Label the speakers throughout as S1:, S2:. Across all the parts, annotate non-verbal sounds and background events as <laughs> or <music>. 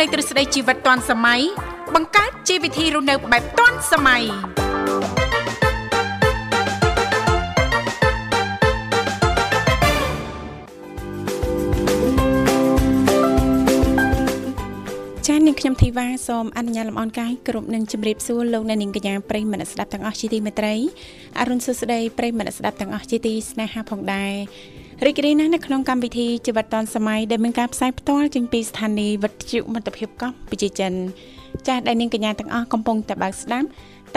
S1: លេងទ្រឹស្ដីជីវិតទាន់សម័យបង្កើតជីវវិធីរស់នៅបែបទាន់សម័យ
S2: ចា៎នាងខ្ញុំធីវ៉ាសូមអនុញ្ញាតលំអរកាយគ្រប់នឹងជម្រាបសួរលោកអ្នកនាងកញ្ញាប្រិយមិត្តអ្នកស្ដាប់ទាំងអស់ជាទីមេត្រីអរុនសុស្ដីប្រិយមិត្តអ្នកស្ដាប់ទាំងអស់ជាទីស្នេហាផងដែររីករាយណាស់នៅក្នុងកម្មវិធីជីវិតឌុនសម័យដែលមានការផ្សាយផ្ទាល់ចេញពីស្ថានីយ៍វិទ្យុមិត្តភាពកម្ពុជាចិន ចាស់ដែលនាងកញ្ញាទាំងអស់កំពុងតែបើកស្ដាប់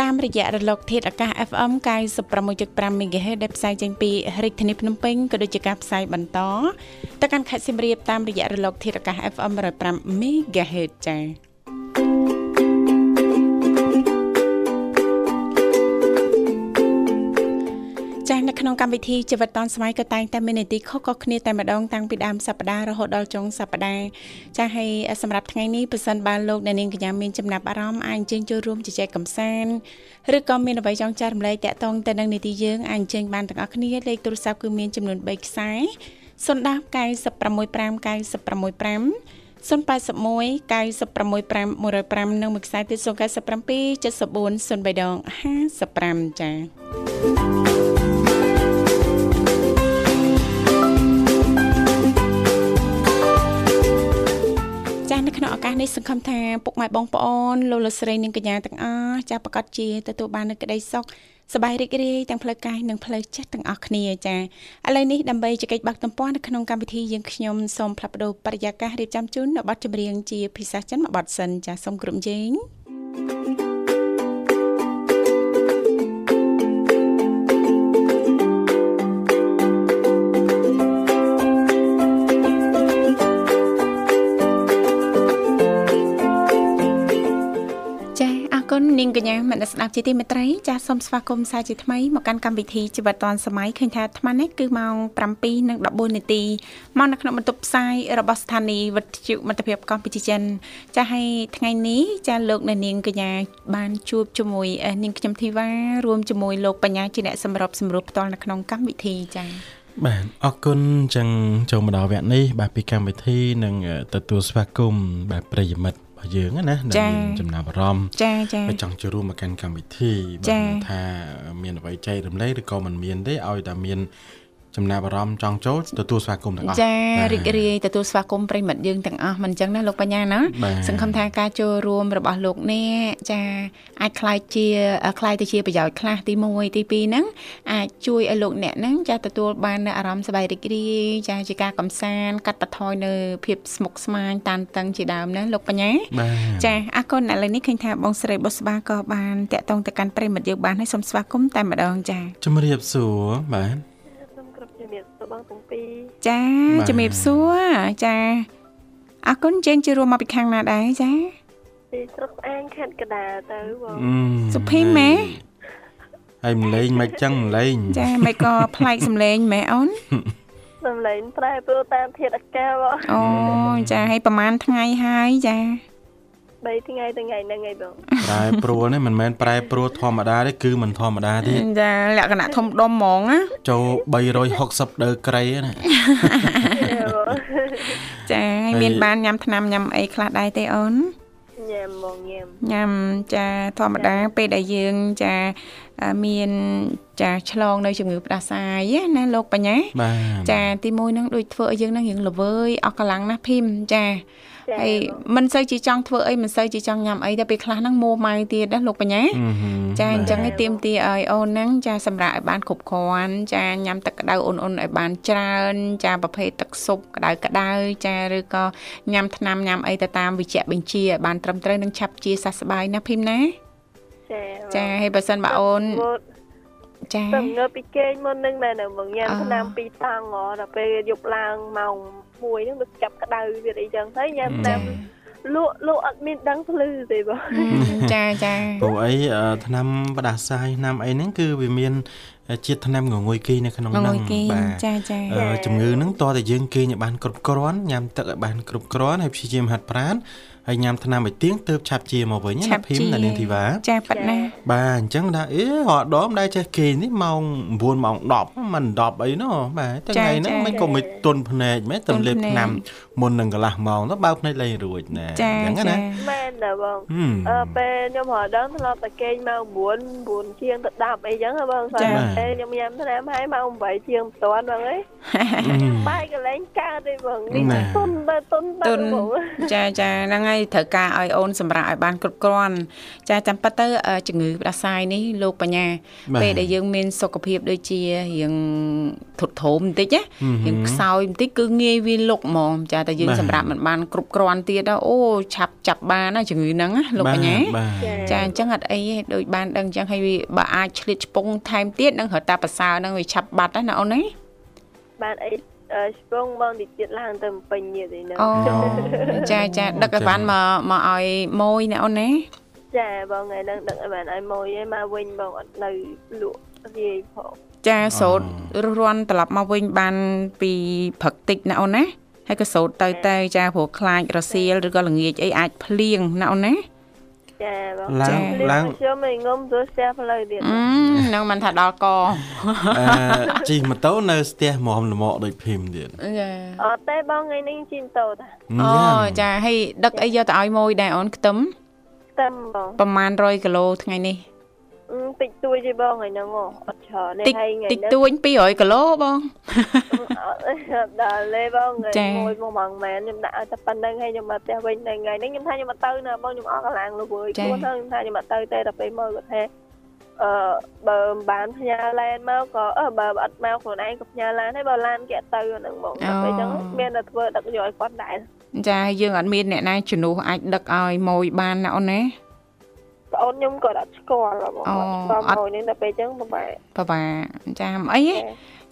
S2: តាមរយៈរលកធាតុអាកាស FM 96.5 MHz ដែលផ្សាយចេញពីរាជធានីភ្នំពេញក៏ដូចជាការផ្សាយបន្តទៅកាន់ខេត្តសៀមរាបតាមរយៈរលកធាតុអាកាស FM 105 MHz ចា៎ ចាស់នៅក្នុងកម្មវិធីជីវិតឌុនសម័យក៏តែងតែមាននីតិខុសៗគ្នាតែម្ដងតាំងពីដើមសប្ដាហ៍រហូតដល់ចុងសប្ដាហ៍ចាស់ហើយសម្រាប់ថ្ងៃនេះប្រសិនបើលោកអ្នកនាងកញ្ញាមានចំណាប់អារម្មណ៍អាចអញ្ជើញចូលរួមជជែកកម្សាន្តឬក៏មានអ្វីចង់ចែករំលែកតាក់ទងទៅនឹងនីតិយើងអាចអញ្ជើញបានទាំងអស់គ្នាលេខទូរស័ព្ទគឺមានចំនួន3ខ្សែ010 965 965 081 965 105និងមួយខ្សែទៀត097 74 03 55ចា៎ ចាស់នៅក្នុងឱកាសនេះសង្ឃឹមថាពុកម៉ែបងប្អូនលោកលោកស្រីនិងកញ្ញាទាំងអស់ចាស់ប្រកាសជាទទួលបាននូវក្តីសុខសប្បាយរីករាយទាំងផ្លូវកាយនិងផ្លូវចិត្តទាំងអស់គ្នាចា៎ឥឡូវនេះដើម្បីជែកបាក់ទំព័រនៅក្នុងកម្មវិធីយើងខ្ញុំសូមផ្លាប់បដោបរិយាកាសរៀបចំជូននៅបទចម្រៀងជាភាសាចិនមួយបទសិនចា៎សូមក្រុមយើង ចាសអរគុណនាងកញ្ញាមនស្សស្ដាប់ជាទីមេត្រីចាសសូមស្វាគមន៍សាជាថ្មីមកកាន់កម្មវិធីជីវិតឌွန်សម័យឃើញថាអាត្មានេះគឺម៉ោង7:14នាទីមកនៅក្នុងបន្ទប់ផ្សាយរបស់ស្ថានីយ៍វិទ្យុមិត្តភាពកម្ពុជាចិន ចាសហើយថ្ងៃនេះចាសលោកអ្នកនាងកញ្ញាបានជួបជាមួយអឺនាងខ្ញុំធីវ៉ារួមជាមួយលោកបញ្ញាជាអ្នកសម្របសម្រួលផ្ទាល់នៅក្នុងកម្មវិធីចាស
S3: បាទអរគុណអញ្ចឹងចូលមកដល់វគ្គនេះបាទពីកម្មវិធីនឹងអឺទទួលស្វាគមន៍បាទប្រិយមិត្តរបស់យើងហ្នឹងណា
S1: ចា៎
S3: ដែលមានចំណាប់អារម្មណ៍
S2: ចាចា
S3: បាទចង់ចូលរួមមកកាន់កម្មវិធី
S2: ចា៎
S3: បាទមិនថាមានអ្វីចែករំលែកឬក៏មិនមានទេឲ្យតែមានចំណាប់អារម្មណ៍ចង់ចូលទទួលស្វាគមន៍ទាំងអស់
S2: ចា
S3: បាទ
S2: រីករាយទទួលស្វាគមន៍ប្រិយមិត្តយើងទាំងអស់មិនអញ្ចឹងណាលោកបញ្ញាណា
S3: បាទ
S2: សង្ឃឹមថាការចូលរួមរបស់លោកអ្នកចាអាចคล้ายជាคล้ายទៅជាប្រយោជន៍ខ្លះទី1ទី2ហ្នឹងអាចជួយឲ្យលោកអ្នកហ្នឹងចាទទួលបាននូវអារម្មណ៍សប្បាយរីករាយចាជាការកំសាន្តកាត់បន្ថយនៅភាពស្មុគស្មាញតានតឹងជាដើមណាលោកបញ្ញា
S3: បាទ
S2: ចាអរគុណឥឡូវនេះឃើញថាបងស្រីបុស្បាក៏បានតាក់ទងទៅកាន់ប្រិយមិត្តយើងបានហើយសូមស្វាគមន៍តែម្ដងចា
S3: ជំរាបសួរបាទ
S4: សូមគ្រប់ជំរាបសួរបងទាំងពីរ
S2: ចា
S3: បាទ
S2: ជំរាបសួរចាអរគុណជើងជួយរួមមកពីខាងណាដែរចា
S3: <laughs>
S4: ពីស្រុកស្អាងខេត្តកណ្ដាលទៅបង
S3: អឺ
S2: សុភីម៉ែ
S3: ហើយម្លេងមិនចឹងម្លេង
S2: ចាមិនក៏ប្លែកសំឡេងម៉ែអូន
S4: សំឡេងប្រែប្រួលតាមធាតុអាកាសបង
S2: អូចាហើយប្រហែលថ្ងៃហើយចា
S4: 3ថ្ងៃទៅថ្ងៃហ្នឹងឯងបង
S3: ប្រែប្រួលនេះមិនមែនប្រែប្រួលធម្មតាទេគឺមិនធម្មតាទេ
S2: ចាលក្ខណៈធំដុំហ្មងណា
S3: ចូល360ដឺក្រេណា
S2: ចាហើយមានបានញ៉ាំថ្នាំញ៉ាំអីខ្លះដែរទេអូន
S4: ញ៉ាំបងញ៉ាំ
S2: ញ៉ាំចាធម្មតាពេលដែលយើងចាអឺមានចាឆ្លងនៅជំងឺផ្ដាសាយណាលោកបញ្ញា
S3: បាទ
S2: ចាទីមួយហ្នឹងដូចធ្វើឲ្យយើងហ្នឹងរៀងល្វើយអស់កម្លាំងណាស់ភីមចាហើយមិនសូវជាចង់ធ្វើអីមិនសូវជាចង់ញ៉ាំអីតែពេលខ្លះហ្នឹងមួម៉ៅទៀតណាលោកបញ្ញា
S3: អឺហឹម
S2: ចាអ
S3: បាទ
S2: ញ្ចឹងឲ្យទៀមទាឲ្យអូនហ្នឹងចាសម្រាប់ឲ្យបានគ្រប់គ្រាន់ចាញ៉ាំទឹកក្តៅអូនអូនៗឲ្យបានច្រើន ចាប្រភេទទឹកស៊ុបក្តៅក្តៅចាឬក៏ញ៉ាំថ្នាំញ៉ាំអីទៅតាមវិជ្ជបញ្ជាឲ្យបានត្រឹមត្រូវនិងឆាប់ជាសះស្បើយណាភីមណា
S4: ចា
S2: ចាហើយបើសិនបើអូនចា
S4: ទៅងើបពីគេងមុនហ្នឹងមែនទេបងញ៉ាំ
S2: អ่า
S4: ថ្នាំពីរតង់ហ៎ដល់ពេលយប់ឡើងម៉ោង1ហ្នឹងវាចាប់ក្ដៅវាអីចឹងទៅញ៉ាំ
S3: ចា
S4: តាមលក់លក់អត់មានដឹងភ្លឺទេបង
S2: ហឹមចាចា
S3: ព្រោះអីអឺថ្នាំបដាសាយថ្នាំអីហ្នឹងគឺវាមានជាតិថ្នាំងងុយគេនៅក្នុង
S2: ង
S3: ហ្នឹង
S2: ងុយគេ
S3: បាទ
S2: ចាចា
S3: អឺជំងឺហ្នឹងតើតែយើងគេងឲ្យបានគ្រប់គ្រាន់ញ៉ាំទឹកឲ្យបានគ្រប់គ្រាន់ហើយព្យាយាមហាត់ប្រាណហើយ ហើយញ៉ាំថ្នាំមួយទៀងទៅឆាប់ជាមកវិញណាភីមណានាងធីវ៉ា
S2: ចាប៉ាត់ណា
S3: បាទអញ្ចឹងថាអេរត់ដមដែលចេះគេងនេះម៉ោង9ម៉ោង10មិន10អីណោះបាទតែថ្ងៃហ្នឹងមិនក៏មិនទន់ភ្នែកម៉េចទៅលេបថ្នាំមុននឹងកន្លះម៉ោងទៅបើកភ្នែកលេងរួចណាអ
S2: ចា
S3: ញ្ចឹង
S2: ចា
S3: ណា
S4: មែនណាបង
S3: ហឹម
S4: អឺពេលខ្ញុំរត់ដឹងធ្លាប់តែគេងម៉ោង9 9ជាងទៅ10អីចឹងហ៎បង
S3: ចា
S4: ពេលខ្ញុំញ៉ាំថ្នាំហើយម៉ោង8ជាងមិនទាន់បងអីបែកកលែងកើតទេបងនេះ
S3: ណា
S4: ទុនបើទុនបើ
S2: ទុន
S4: បង
S2: ចាចាហ្នឹងហើយត្រូវការឲ្យអូនសម្រាប់ឲ្យបានគ្រប់គ្រាន់ចាចាំប៉ាត់ទៅអឺជំងឺផ្ដាសាយនេះលោកបញ្ញា
S3: បាទ
S2: ពេលដែលយើងមានសុខភាពដូចជារៀងធុតធោមបន្តិចណា
S3: ហឹម
S2: រៀងខ្សោយបន្តិចគឺងាយវាលុកហ្មងចាតែយើង
S3: បាទ
S2: សម្រាប់មិនបានគ្រប់គ្រាន់ទៀតដល់អូឆាប់ចាប់បានណាជំងឺហ្នឹងណាលោកបញ្ញា
S3: បាទ
S2: ចាអញ្ចឹងអត់អីទេដូចបានដឹងអញ្ចឹងហើយវាបើអាចឆ្លៀតឆ្ពងថែមទៀតនឹងរត់តាប្រសើរហ្នឹងវាឆាប់បាត់ហ្នឹងណាអូនណា
S4: បានអីអឺស្ពងបងតិចទៀតឡើងទៅពេញទៀតឯហ្នឹង
S2: អូចាចាដឹកអីវ៉ាន់មកមកឲ្យម៉ួយណាអូនណា
S4: ចាបងថ្ងៃហ្នឹងដឹកឲ្យបានឲ្យម៉ួយឯងមកវិញបងអត់នៅលក់វាយផង
S2: ចាសោត
S3: អ่
S2: រស់រាន់ត្រឡប់មកវិញបានពីព្រឹកតិចណាអូនណាហើយក៏សោតទៅទៅចាព្រោះខ្លាចរសៀលឬក៏ល្ងាចអីអាចភ្លៀងណាអូនណា
S4: ចាបង
S3: ឡើងឡើង
S4: ខ្ញុំឯងងុំទៅស្ទះផ្លូវទៀត
S2: អឺហ្នឹងមិនថាដល់ក
S3: អឺជិះម៉ូតូនៅស្ទះមុំល្មោដូចភីមទៀត
S2: ចា
S4: អត់ទេបងថ្ងៃនេះជីមតូត
S2: អូចាហើយដឹកអីយកទៅឲ្យម៉ួយដែរអូនខ្ទឹម
S4: ខ្ទឹមបង
S2: ប្រហែល100គីឡូថ្ងៃនេះ
S4: អឺតិចតួចទេបងថ្ងៃហ្នឹងហ៎អត់ច្រើនទេ
S2: តិច
S4: ហើយថ្ងៃ
S2: តិច
S4: ហ្នឹង
S2: តួញ200គីឡូបង <laughs>
S4: អ <laughs> ត់ដល់ទេបង
S2: ចា
S4: ថ្ងៃមួយមកបងមែនខ្ញុំដាក់ឲ្យតែប៉ុណ្្នឹងហើយខ្ញុំមកផ្ទះវិញនៅថ្ងៃហ្នឹងខ្ញុំថាខ្ញុំមកទៅណាបងខ្ញុំអស់កម្លាំងលុបវើយខ្លួនហើយខ្ញុំថាខ្ញុំមកទៅទេដល់ពេលមើលគាត់ថាអឺបើមិនបានផ្ញើឡានមកក៏អឺបើអត់មកខ្លួនឯងក៏ផ្ញើឡានហើយបើឡានគេអត់ទៅហ្នឹងបងដល់ពេលអញ្ចឹងមានតែធ្វើដឹកយកឲ្យគាត់ដែរ
S2: ចាយើងអត់មានអ្នកណាជំនួសអាចដឹកឲ្យម៉ួយបានណាអូនណា
S4: ប្អូនខ្ញុំក៏អត់ស្គាល់ហ៎បង
S2: អូ
S4: អត់ស្គាល់
S2: អត់
S4: ម៉ួយហ្នឹងដល់ពេលអញ្ចឹងប្រហែល
S2: ប្រហែលចាមិនអីទេ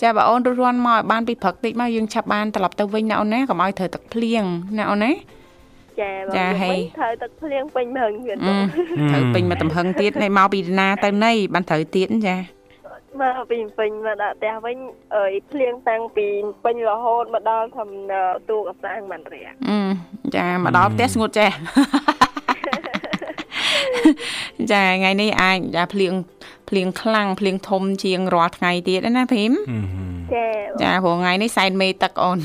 S2: ចាបើអូនរត់រាន់មកឲ្យបានពីព្រឹកតិចមកយើងឆាប់បានត្រឡប់ទៅវិញណាអូនណាកុំឲ្យត្រូវទឹកភ្លៀងណាអូនណា
S4: ចាបង
S2: ចា
S4: ខ្ញុំ
S2: ហើ
S4: វិញ
S2: យ
S4: ត្រូវទឹកភ្លៀងពេញមើងទៀតបង
S2: អឺត្រូវពេញមកតំហឹងទៀតហើយមកពីណាទៅណីបានត្រូវទៀតចា
S4: មកពេញពេញមកដល់ផ្ទះវិញអីភ្លៀងតាំងពីពេញរហូតមកដល់ធំទូកសាងបានរះ
S2: អឺចាមកដល់ផ្ទះស្ងួតចេះ <laughs> ចាថ្ងៃនេះអាចចាភ្លៀងភ្លៀងខ្លាំងភ្លៀងធំជាងរាល់ថ្ងៃទៀតណាភីម
S4: ចា
S2: ចាព្រោះថ្ងៃនេះសែនមេទឹកអូន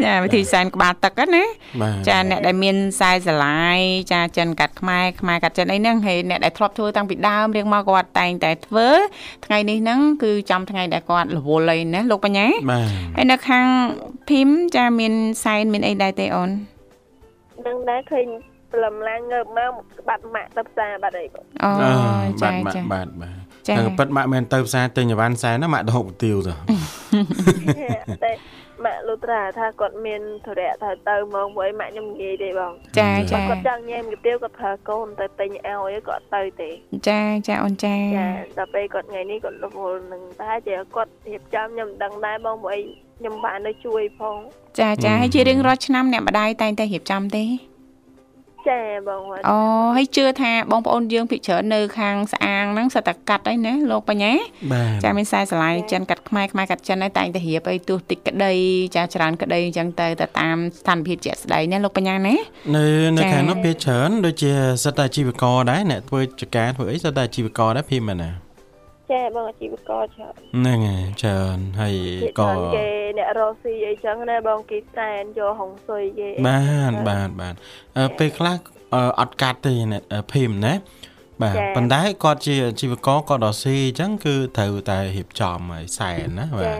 S2: <laughs> ចាវិធីសែនក្បាលទឹកហ្នឹងណា
S3: បាទ
S2: ចាអ្នកដែលមានខ្សែស្រឡាយចាចិនកាត់ខ្មែរខ្មែរកាត់ចិនអីហ្នឹងហើយអ្នកដែលធ្លាប់ធ្វើតាំងពីដើមរៀងមកគាត់តែងតែធ្វើថ្ងៃនេះហ្នឹងគឺចំថ្ងៃដែលគាត់រវល់អីណាលោកបញ្ញា
S3: បាទ
S2: ហើយនៅខាងភីមចាមានសែនមានអីដែរទេអូន
S4: នឹងដែរឃើញព្រលឹមឡើងងើបមកក្បាត់ម៉ាក់ទៅផ្សារបាត់អីបង
S2: អូ
S3: អឺបា
S2: ចា
S3: ទបាទ
S2: ចា
S3: បាទបាទ
S2: ចា
S3: តែប៉ិតម៉ាក់មិនទៅផ្សារទិញអីវ៉ាន់សែនណាម៉ាក់ដកហូបគុយទាវទៅ
S4: តែម៉ាក់លូត្រាថាគាត់មានធរៈថាទៅមកមួយម៉ាក់ខ្ញុំនិយាយទេបង
S2: ចា
S3: ចា
S2: ចា
S4: គាត់ចង់ញ៉ាំគុយទាវគាត់ប្រើកូនទៅទិញឲ្យគាត់ទៅទេ
S2: ចាចាអូនចា
S4: ចាដល់ពេលគាត់ថ្ងៃនេះគាត់លវលនឹងតែជាគាត់រៀបចំខ្ញុំមិនដឹងដែរបងមួយខ្ញុំបានទៅជួយផង
S2: ចាចា
S3: ហឹម
S2: ហើយជារៀងរាល់ឆ្នាំអ្នកម្ដាយតែងតែរៀបចំទេ
S4: ចាបងវត្ត
S2: អូហើយជឿថាបងប្អូនយើងភិកច្រើននៅខាងស្អាងហ្នឹងសិតតែកាត់អីណាលោកបញ្ញា
S3: បាទ
S2: ចាមានខ្សែស្រឡាយចិនកាត់ខ្មែរខ្មែរកាត់ចិនហើយតែងតែរៀបអីទោះតិចក្តីចាច្រើនក្តីអញ្ចឹងទៅទៅតាមស្ថានភាពជាក់ស្ដែងណាលោកបញ្ញាណា
S3: នៅនៅខាងនោះភាគច្រើនដូចជាសិតតែអាជីវករដែរអ្នកធ្វើចការធ្វើអីសិតតែអាជីវករដែរភីមមែនណា
S4: ចាបងអាជីវករចា
S3: ហ្នឹងហើយច្រើនហើយ
S4: ភាគ
S3: ក៏
S4: ច្រើនគេអ្នករស់ស៊ីអីចឹងណាបងគេសែនយកហុងស៊ុយគេអី
S3: បាទបាទបាទអឺពេលខ្លះអឺអត់កាត់ទេអ្នកអឺភីមណាបាទប៉ុន្តែគាត់ជាអាជីវករគាត់ដល់ស៊ីអញ្ចឹងគឺត្រូវតែរៀបចំឲ្យសែនណាបាទ
S4: ចា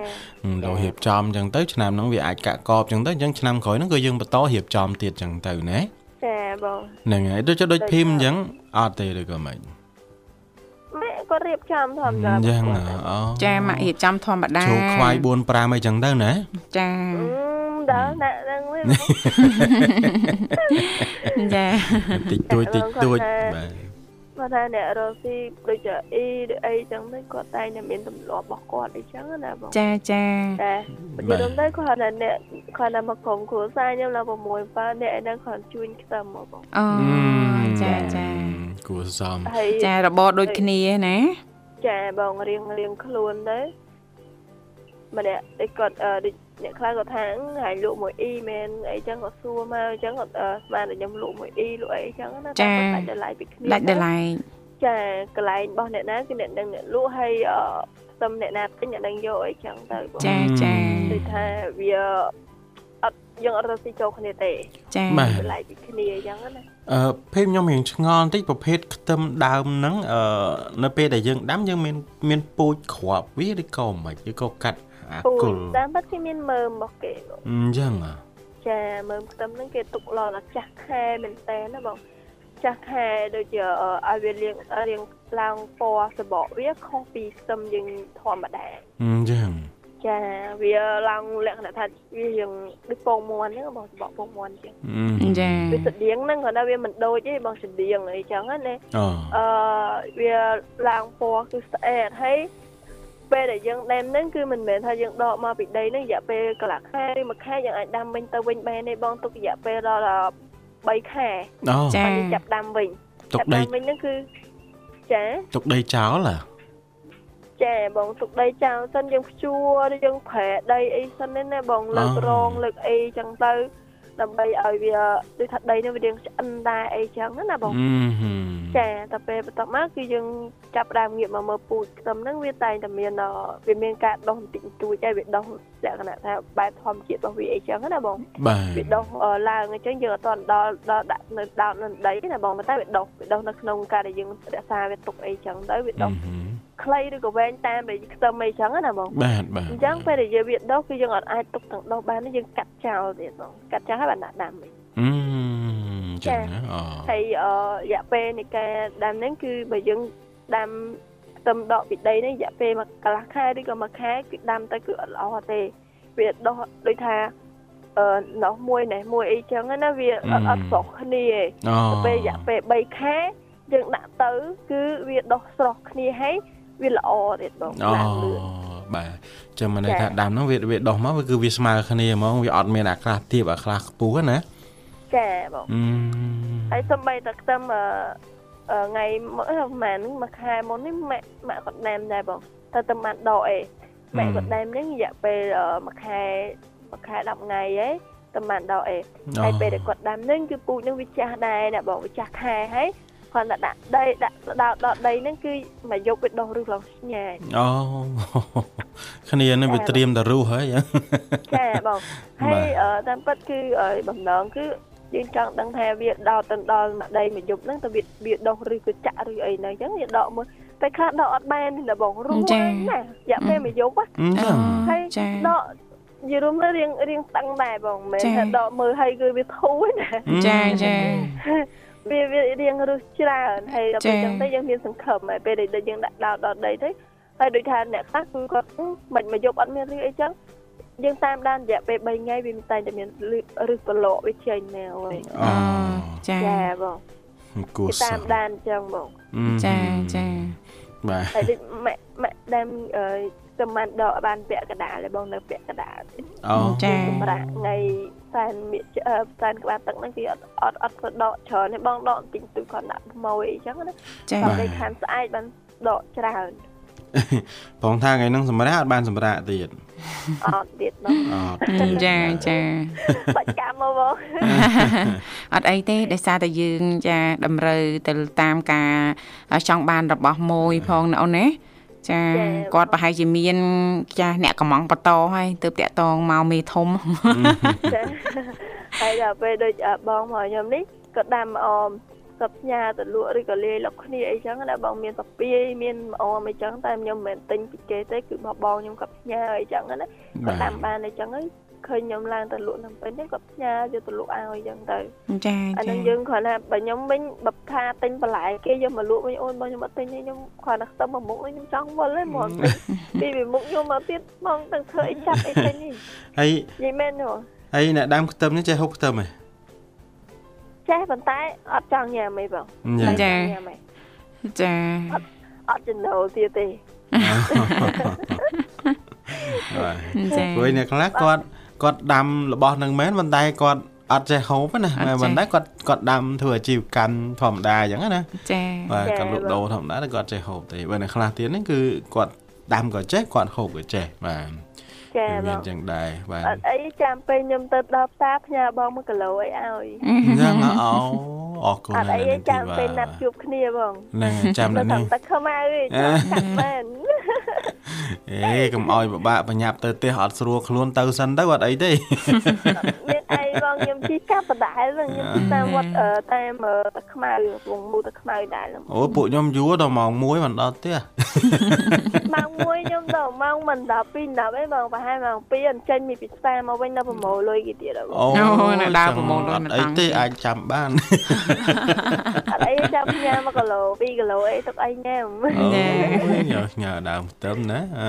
S3: អឺដល់រៀបចំអញ្ចឹងទៅឆ្នាំហ្នឹងវាអាចកាក់កបអញ្ចឹងទៅអញ្ចឹងឆ្នាំក្រោយហ្នឹងក៏យើងបន្តរៀបចំទៀតអញ្ចឹងទៅណា
S4: ចាបង
S3: ហ្នឹងហើយដូចដូចភីមអញ្ចឹងអត់ទេឬក៏មិន
S4: ម៉ែគាត់រៀបចំធម្ម
S3: អ
S4: តា
S3: ញ្ចឹង
S4: បង
S3: អូ
S2: ចាមករៀបចំធម្មតា
S3: ជោខ្វាយ4 5អីចឹងទៅណា
S2: ចា
S4: អឺដល់ដាក់ហ្នឹងវិញ
S2: ចា
S3: តិចតួចតិចតួច
S4: ចា
S3: បាទ
S4: បងគាត់ថាអ្នករស់ស៊ីដូចជាអ៊ីដូចអីចឹងទៅគាត់តែងតែមានទម្លាប់របស់គាត់អីចឹងណាបង
S2: ចាចា
S4: ចានិយាយរំទៅគាត់ថាអ្នកគាត់ថាមកក្រុមគ្រួសារខ្ញុំឡើង6 7អ្នកឯហ្នឹងគាត់ជួយខ្ទឹមមកបង
S2: អូ
S3: អឺ
S2: ចាចា
S3: គួរសម
S4: ហើយ
S2: ចារបបដូចគ្នាណា
S4: ចាបងរៀងរៀងខ្លួនទៅ ម្នាក់ដូចគាត់អឺដូចអ្នកខ្លះគាត់ថាហ្នឹងហើយលក់មួយអ៊ីមែនអីចឹងគាត់សួរមកអញ្ចឹងគាត់អឺស្មានតែខ្ញុំលក់មួយអ៊ីលក់អីចឹងណា
S5: ចា៎
S4: គាត់ដាច់តម្លៃពីគ្នា
S5: ដាច់ដលែង
S4: ចាកន្លែងរបស់អ្នកណាគឺអ្នកដឹងអ្នកលក់ហើយអឺផ្សំអ្នកណាទិញអ្នកដឹងយកអីចឹងទៅបង
S5: ចាចា
S4: ដូចថាវាអត់យើងអត់ទៅស៊ីចូលគ្នាទេ
S5: ចា
S3: បាទ
S4: តម្លៃពីគ្នាអញ្ចឹងណា
S3: អឺពេលខ្ញុំរៀងឆ្ងល់បន្តិចប្រភេទខ្ទឹមដើមហ្នឹងអឺនៅពេលដែលយើងដាំយើងមានមានពូជគ្រាប់វាឬក៏មិនឬក៏កាត់អា
S4: ពូ
S3: គុ
S4: ជ
S3: ល
S4: តាមពិតគឺមានមើមរបស់គេបង
S3: អញ្ចឹងអ្ហ៎
S4: ចាមើមខ្ទឹមហ្នឹងគេទុកឡងដល់ចាស់ខែមែនតើណាបងចាស់ខែដូចជាអឺឲ្យវាលៀងរៀងឡើងពណ៌សបកវាខុសពីខ្ទឹមយើងធម្មតា
S3: អញ្ចឹង
S4: ចាវាឡើងលក្ខណៈថាវារៀងដូចពងមាន់ហ្នឹងបងសបកពងមាន់ចឹង
S3: អឺ
S5: ចា
S4: វាស្តៀងហ្នឹងគាត់ថាវាមិនដូចទេបងស្តៀងអីចឹងណា
S3: អូ
S4: អឺវាឡើងពណ៌គឺស្អាតហើយពេលដែលយើងដាំហ្នឹងគឺមិនមែនថាយើងដកមកពីដីហ្នឹងរយៈពេលកន្លះខែឬមួយខែយើងអាចដាំវិញទៅវិញបានទេបងទុករយៈពេលដល់អឺ3ខែ
S3: អូ
S5: ចា
S4: យើងចាប់ដាំវិញ
S3: ទុក
S4: ចាប់
S3: ដី
S4: ដាំវិញហ្នឹងគឺចា
S3: ទុកដីចោលហ៎
S4: ចាបងទុកដីចោលសិនយើងភ្ជួរយើងប្រែដីអីសិនហ្នឹងណាបងលើករងលើកអីចឹងទៅដើម្បីឲ្យវាដូចថាដីហ្នឹងវារៀងឆ្អិនដែរអីចឹងណាណាបង
S3: អឺហឹម
S4: ចាតែពេលបន្ទាប់មកគឺយើងចាប់ផ្ដើមងាកមកមើលពូជខ្ទឹមហ្នឹងវាតែងតែមានអឺវាមានការដុះបន្តិចបន្តួចហើយវាដុះលក្ខណៈថាបែបធម្មជាតិរបស់វាអីចឹងណាបង
S3: បា
S4: វា
S3: ទ
S4: ដុះអឺឡើងអញ្ចឹងយើងអត់ទាន់ដល់ដល់ដាក់នៅដោតនៅដីទេណាបងប៉ុន្តែវាដុះវាដុះនៅក្នុងការដែលយើងរក្សាវាទុកអីចឹងទៅវាដុះ
S3: ហឹម
S4: ខ្លីឬក៏វែងតាមដែលខ្ទឹមអីចឹងណាបង
S3: បាទបាទ
S4: អញ្ចឹងពេលដែលយើងវាដុះគឺយើងអត់អាចទុកទាំងដុះបានទេយើងកាត់ចោលទៀតបងកាត់ចោលហើយបានដាក់ដាំវិញ
S3: អឺ
S4: ចា
S3: ចឹងណាអូ
S4: ហើយអឺរយៈពេលនៃការដាំហ្នឹងគឺបើយើងដាំខ្ទឹមដកពីដីហ្នឹងរយៈពេលមួយកន្លះខែឬក៏មួយខែគឺដាំទៅគឺអត់ល្អទេវាដុះដូចថាអឺណោះមួយណេះមួយអីចឹងណាវាអត់អត់ស្រុះគ្នាទេ
S3: អូ
S4: ទៅពេលរយៈពេល3ខែយើងដាក់ទៅគឺវាដុះស្រស់គ្នាហើយវាល្អទៀតបង
S3: អូ
S4: ឡើងលឿន
S3: បាទចឹងមកន័យ
S4: ចា
S3: ថាដាំហ្នឹងវាវាដុះមកវាគឺវាស្មើគ្នាហ្មងវាអត់មានអាខ្លះទាបអាខ្លះខ្ពស់ណា
S4: ចាបង
S3: អឺ
S4: ហើយសំបីតែខ្ទឹមអឺអឺថ្ងៃមុនប្រហែលមួយខែមុននេះម៉ាក់ម៉ាក់គាត់ដាំដែរបងតែតែម៉ាក់ដកអីម៉ាក់គាត់ដាំនេះរយៈពេលអឺមួយខែមួយខែ10ថ្ងៃហីតែម៉ាក់ដកអីហើយពេលដែលគាត់ដាំនេះគឺពូជនឹងវាចាស់ដែរណាបងវាចាស់ខែហើយគាត់តែដាក់ដីដាក់ដល់ដល់ដីហ្នឹងគឺមកយកវាដុះឬឡងស្ញាយ
S3: អូ <laughs> គ្នានេះវា
S4: ចា៎
S3: ត្រៀមតែរស់ហើយអ่ะ
S4: ចាបងហើ
S3: បាទ
S4: យអឺតាមពិតគឺអឺបំណងគឺយើងចង់ដឹងថាវាដោតទៅដល់មួយដីមួយយប់ហ្នឹងតើវាវាដុះឬក៏ចាក់ឬអីហ្នឹងអញ្ចឹងវាដកមើលតែខ្លះដកអត់បានទេណាបងរួមណារយៈពេលមួយយប់ហ៎
S3: អញ្ចឹង
S4: ហើយ
S5: ចា
S4: ដកនិយាយរួមទៅរៀងរៀងតឹងដែរបងមិនមែន
S5: ចា
S4: ថាដកមើលហើយគឺវាធូរណា
S5: ចាចា
S4: វាវារៀងរស់ច្រើនហើយដល់ពេលអញ្ចឹងទៅយើងមានសង្ឃឹមហើយពេលដែលយើងដាក់ដោតដល់ដីទៅហើយដូចថាអ្នកខ្លះគឺគាត់អឺមិនមួយយប់អត់មានរឿងអីចឹងយើងតាមដានរយៈពេល3ថ្ងៃវាមិនតែងតែមានឬឬប្រឡក់វាចេញមកហើ
S3: អូ
S4: យ
S5: អូចា
S4: ចាបង
S3: គួរ
S4: គេ
S3: ស
S4: តាម
S3: ោះ
S4: ដានអញ្ចឹងបង
S5: ចាចា
S3: បាទ
S4: ហើយដូចម៉ាក់ម៉ាក់ដើមអឺស្មានដកបានពាក់កណ្ដាលហើយបងនៅពាក់កណ្ដាល
S3: អូ
S5: ចា
S4: សម្រាប់ថ្ងៃសែនមៀកអឺសែនក្បាលទឹកហ្នឹងគឺអត់អត់អត់ធ្វើដកច្រើនទេបងដកបន្តិចទូគាត់ដាក់ខ្មោយអីចឹងណា
S5: ចា
S4: ដល់ពេលខានស្អែកបានដកច្រើន
S3: បងថាថ្ងៃហ្នឹងសម្រាប់អត់បានសម្រាប់ទៀត
S4: អត់ទៀតនោះ
S3: អត់
S5: ចាចា
S4: បាច់កម្មមកបង
S5: <laughs> អត់អីទេដោយសារតែយើងចាតម្រូវទៅតាមការចង់បានរបស់មួយផងណាអូនណាចាគាត់ប្រហែលជាមានចាស់អ្នកកំងបតហើយទើបតាក់តងមកមេធំ
S4: ចាហើយដល់ពេលដូចអ่ะបងមកខ្ញុំនេះក៏ដាំអមសពផ្ញើទៅលក់ឬក៏លាយលុកគ្នាអីចឹងណាបងមានសពាយមានអមអីចឹងតែខ្ញុំមិនមែនទិញពីគេទេគឺមកបងខ្ញុំក៏ផ្ញើអីចឹងណា គាត់
S3: បាទ
S4: ដាំបានអីចឹងហើយឃើញខ្ញុំឡើងទៅលក់នឹងពេញហ្នឹងគាត់ផ្ញើយកទៅលក់ឲ្យអីចឹងទៅ
S5: ចា
S4: អា
S5: ចា
S4: ហ្នឹងយើងគ្រាន់ថាបើខ្ញុំវិញបើថាទិញបន្លែគេយកមកលក់វិញអូនបងខ្ញុំអត់ទិញទេខ្ញុំគ្រាន់តែខ្ទឹមមួយមុខនេះខ្ញុំចង់វិលទេហ្មងពីពីមុខយកមកទៀតមកទៅធ្វើអីចាប់អីទិញនេះ
S3: ហើយ
S4: និយាយមែនទេបង
S3: ហើយអ្នកដាំខ្ទឹមនេះចេះហូបខ្ទឹមហ៎
S4: ចេះប៉ុន្តែអត់ចង់ញ៉ាំអីបង
S3: អញ្ចឹង
S4: ចង់ញ៉ាំអី
S5: ចា
S4: អត់ចំណូលទៀតទេ
S3: បាទ
S5: ចា
S3: ព្រោះអ្នកខ្លះគាត់គាត់ដាំរបស់ហ្នឹងមែនប៉ុន្តែគាត់អត់ចេះហូបណាតែប៉ុន្តែគាត់គាត់ដាំធ្វើអាជីវកម្មធម្មតាអញ្ចឹងណា
S5: ចា
S3: បាទគាត់លក់ដូរធម្មតាតែគាត់ចេះហូបទេបើអ្នកខ្លះទៀតហ្នឹងគឺគាត់ ដាំក៏ចេះគាត់ហូបក៏ចេះបាទ
S4: ចា
S3: វា
S4: ប
S3: មាន
S4: ង
S3: ចឹងដែរបាទ
S4: អត់អីចាំពេលខ្ញុំទៅដល់ផ្សារផ្ញើបង1គីឡូអីឲ្យ
S3: ចឹងអោអរគុណ
S4: អត់អីទេចាំពេលណាត់
S3: ហ
S4: ជួបគ្នាបង
S3: នឹងចាំ
S4: នៅ
S3: ដល់
S4: ខា
S3: នេះ
S4: ងទឹកខ្មៅ <laughs> ឯងចាំកាត់មែន
S3: អេកុំអោយពិបាកបញ្ញាប់ទៅផ្ទះអត់ស្រួលខ្លួនទៅសិនទៅអត់អីទេ
S4: មានអីបងខ្ញុំជិះកាប់បដាលបងខ្ញុំជិះតាមវត្តអឺតាមអឺតាខ្មៅវងមូតាខ្មៅដែរឡង
S3: អូពួកខ្ញុំយួរដល់ម៉ោង1មិនដល់ផ្ទះ
S4: ម៉ោង1ខ្ញុំដល់ម៉ោងមិនដល់2ដល់អីបងប្រហែលម៉ោង2អញ្ចឹងមានពីផ្សារមកវិញដល់ប្រមូលលុយគេទៀតហើយបង
S3: អូ
S6: អូនៅដើរប្រមូលលុយ
S3: អត់
S6: មក
S3: អី
S6: តាំង
S3: ទេអាចចាំបាន
S4: អត់អីចាំផ្ញើមកគីឡូ2គីឡូអីទុកអីញ៉ាំ
S3: អូ
S6: ណែ
S3: ញ៉ាំញ៉ាំដើមខ្ទឹមណាអ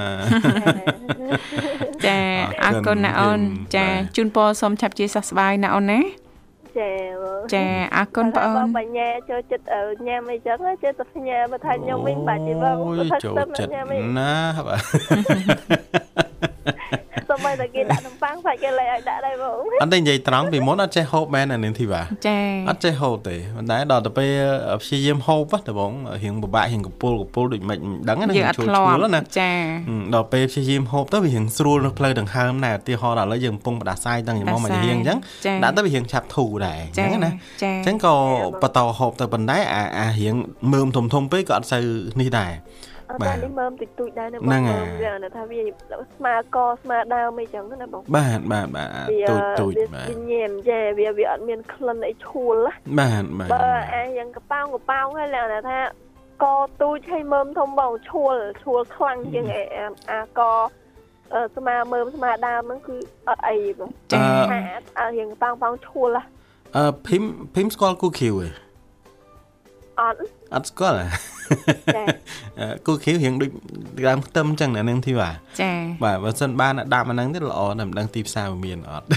S2: ចាអរគុណណាអូនចាជូនពរសូមឆាប់ជាសះស្បើយណាអូនណា
S4: ចាបង
S2: ចាអរគុណបងអូន
S4: បញ្ញា ចូលចិត្តអឺញ៉ាំអីចឹងចេះតែផ្ញើបើថាខ្ញុំវិញបាច់ទេបង
S3: អូយ
S4: បើថា
S3: ចូល
S4: ខ្ទឹមអត់
S3: ចិត្ត
S4: ញ៉ាំអី
S3: ណាបាទ
S4: សូម្បីតែគេដាក់នំប៉័ងសាច់គេលែងឲ្យដាក់ដែរបង
S3: អត់ទេនិយាយត្រង់ពីមុនអត់ចេះហូបមែនអានឹងធីវ៉ា
S2: ចា
S3: អត់ចេះហូបទេប៉ុន្តែដល់ទៅពេលព្យាយាមហូបហ្នឹងបងរៀងពិបាករៀងកំពុលកំពុលដូចមិនមិនដឹងណា
S2: យើងអត់
S3: ឈួល
S2: ធ្លា
S3: ឈួ
S2: ប់
S3: លណា
S2: ចា
S3: អឺដល់ពេលព្យាយាមហូបទៅវារៀងស្រួលនៅផ្លូវដង្ហើមដែរឧទាហរណ៍ដល់ឥឡូវយើងកំពុងបដាសាយតាំងពីមកមករៀងអញ្ចឹងដាក់ទៅវារៀងឆាប់ធូរដែរអ
S2: ចា
S3: ញ្ចឹងណា
S2: ចា
S3: អញ្ចឹងក៏បន្តហូបទៅប៉ុន្តែអាអារៀងមើមធំធំពេកក៏អត់សូវនេះដែរ
S4: អត់
S3: បាទ
S4: តែនេះមើមតិចតួចដែរនៅ
S3: ហ្នឹង
S4: ម
S3: ហើយ
S4: ើមថាវាស្មារកស្មារដើមអីចឹងណាបង
S3: បាទបាទបាទអា
S4: វា
S3: ទូចទូច
S4: វា
S3: បាទ
S4: វាញ៉ាំចេះវាវាអត់មានក្លិនអីឈួលណា
S3: បាទបាទ
S4: បើអាយ៉ាងកប៉ោងកប៉ោងហើយឡើងតែថាកទូចឲ្យមើមធំបងឈួលឈួលខ្លាំងជាងអីអាអាកអឺស្មាមើមស្មាដើមហ្នឹងគឺអត់អីបង
S2: ចា
S3: អឺ
S4: ថាអាអាយ៉ាងកប៉ោងកប៉ោងឈួលណា
S3: អឺភីមភីមស្គាល់គូឃីវទេ
S4: អត់
S3: អត់ស្គាល់ <laughs> ហ៎
S4: ចា
S3: អឺគូឃីវរៀងដូចដើមខ្ទឹមអញ្ចឹងអានឹងធីបាទ
S2: ចា
S3: បាទបើសិនបានដាក់អាហ្នឹងទៀតល្អតែមិនដឹងទីផ្សារវាមាន <laughs> អត់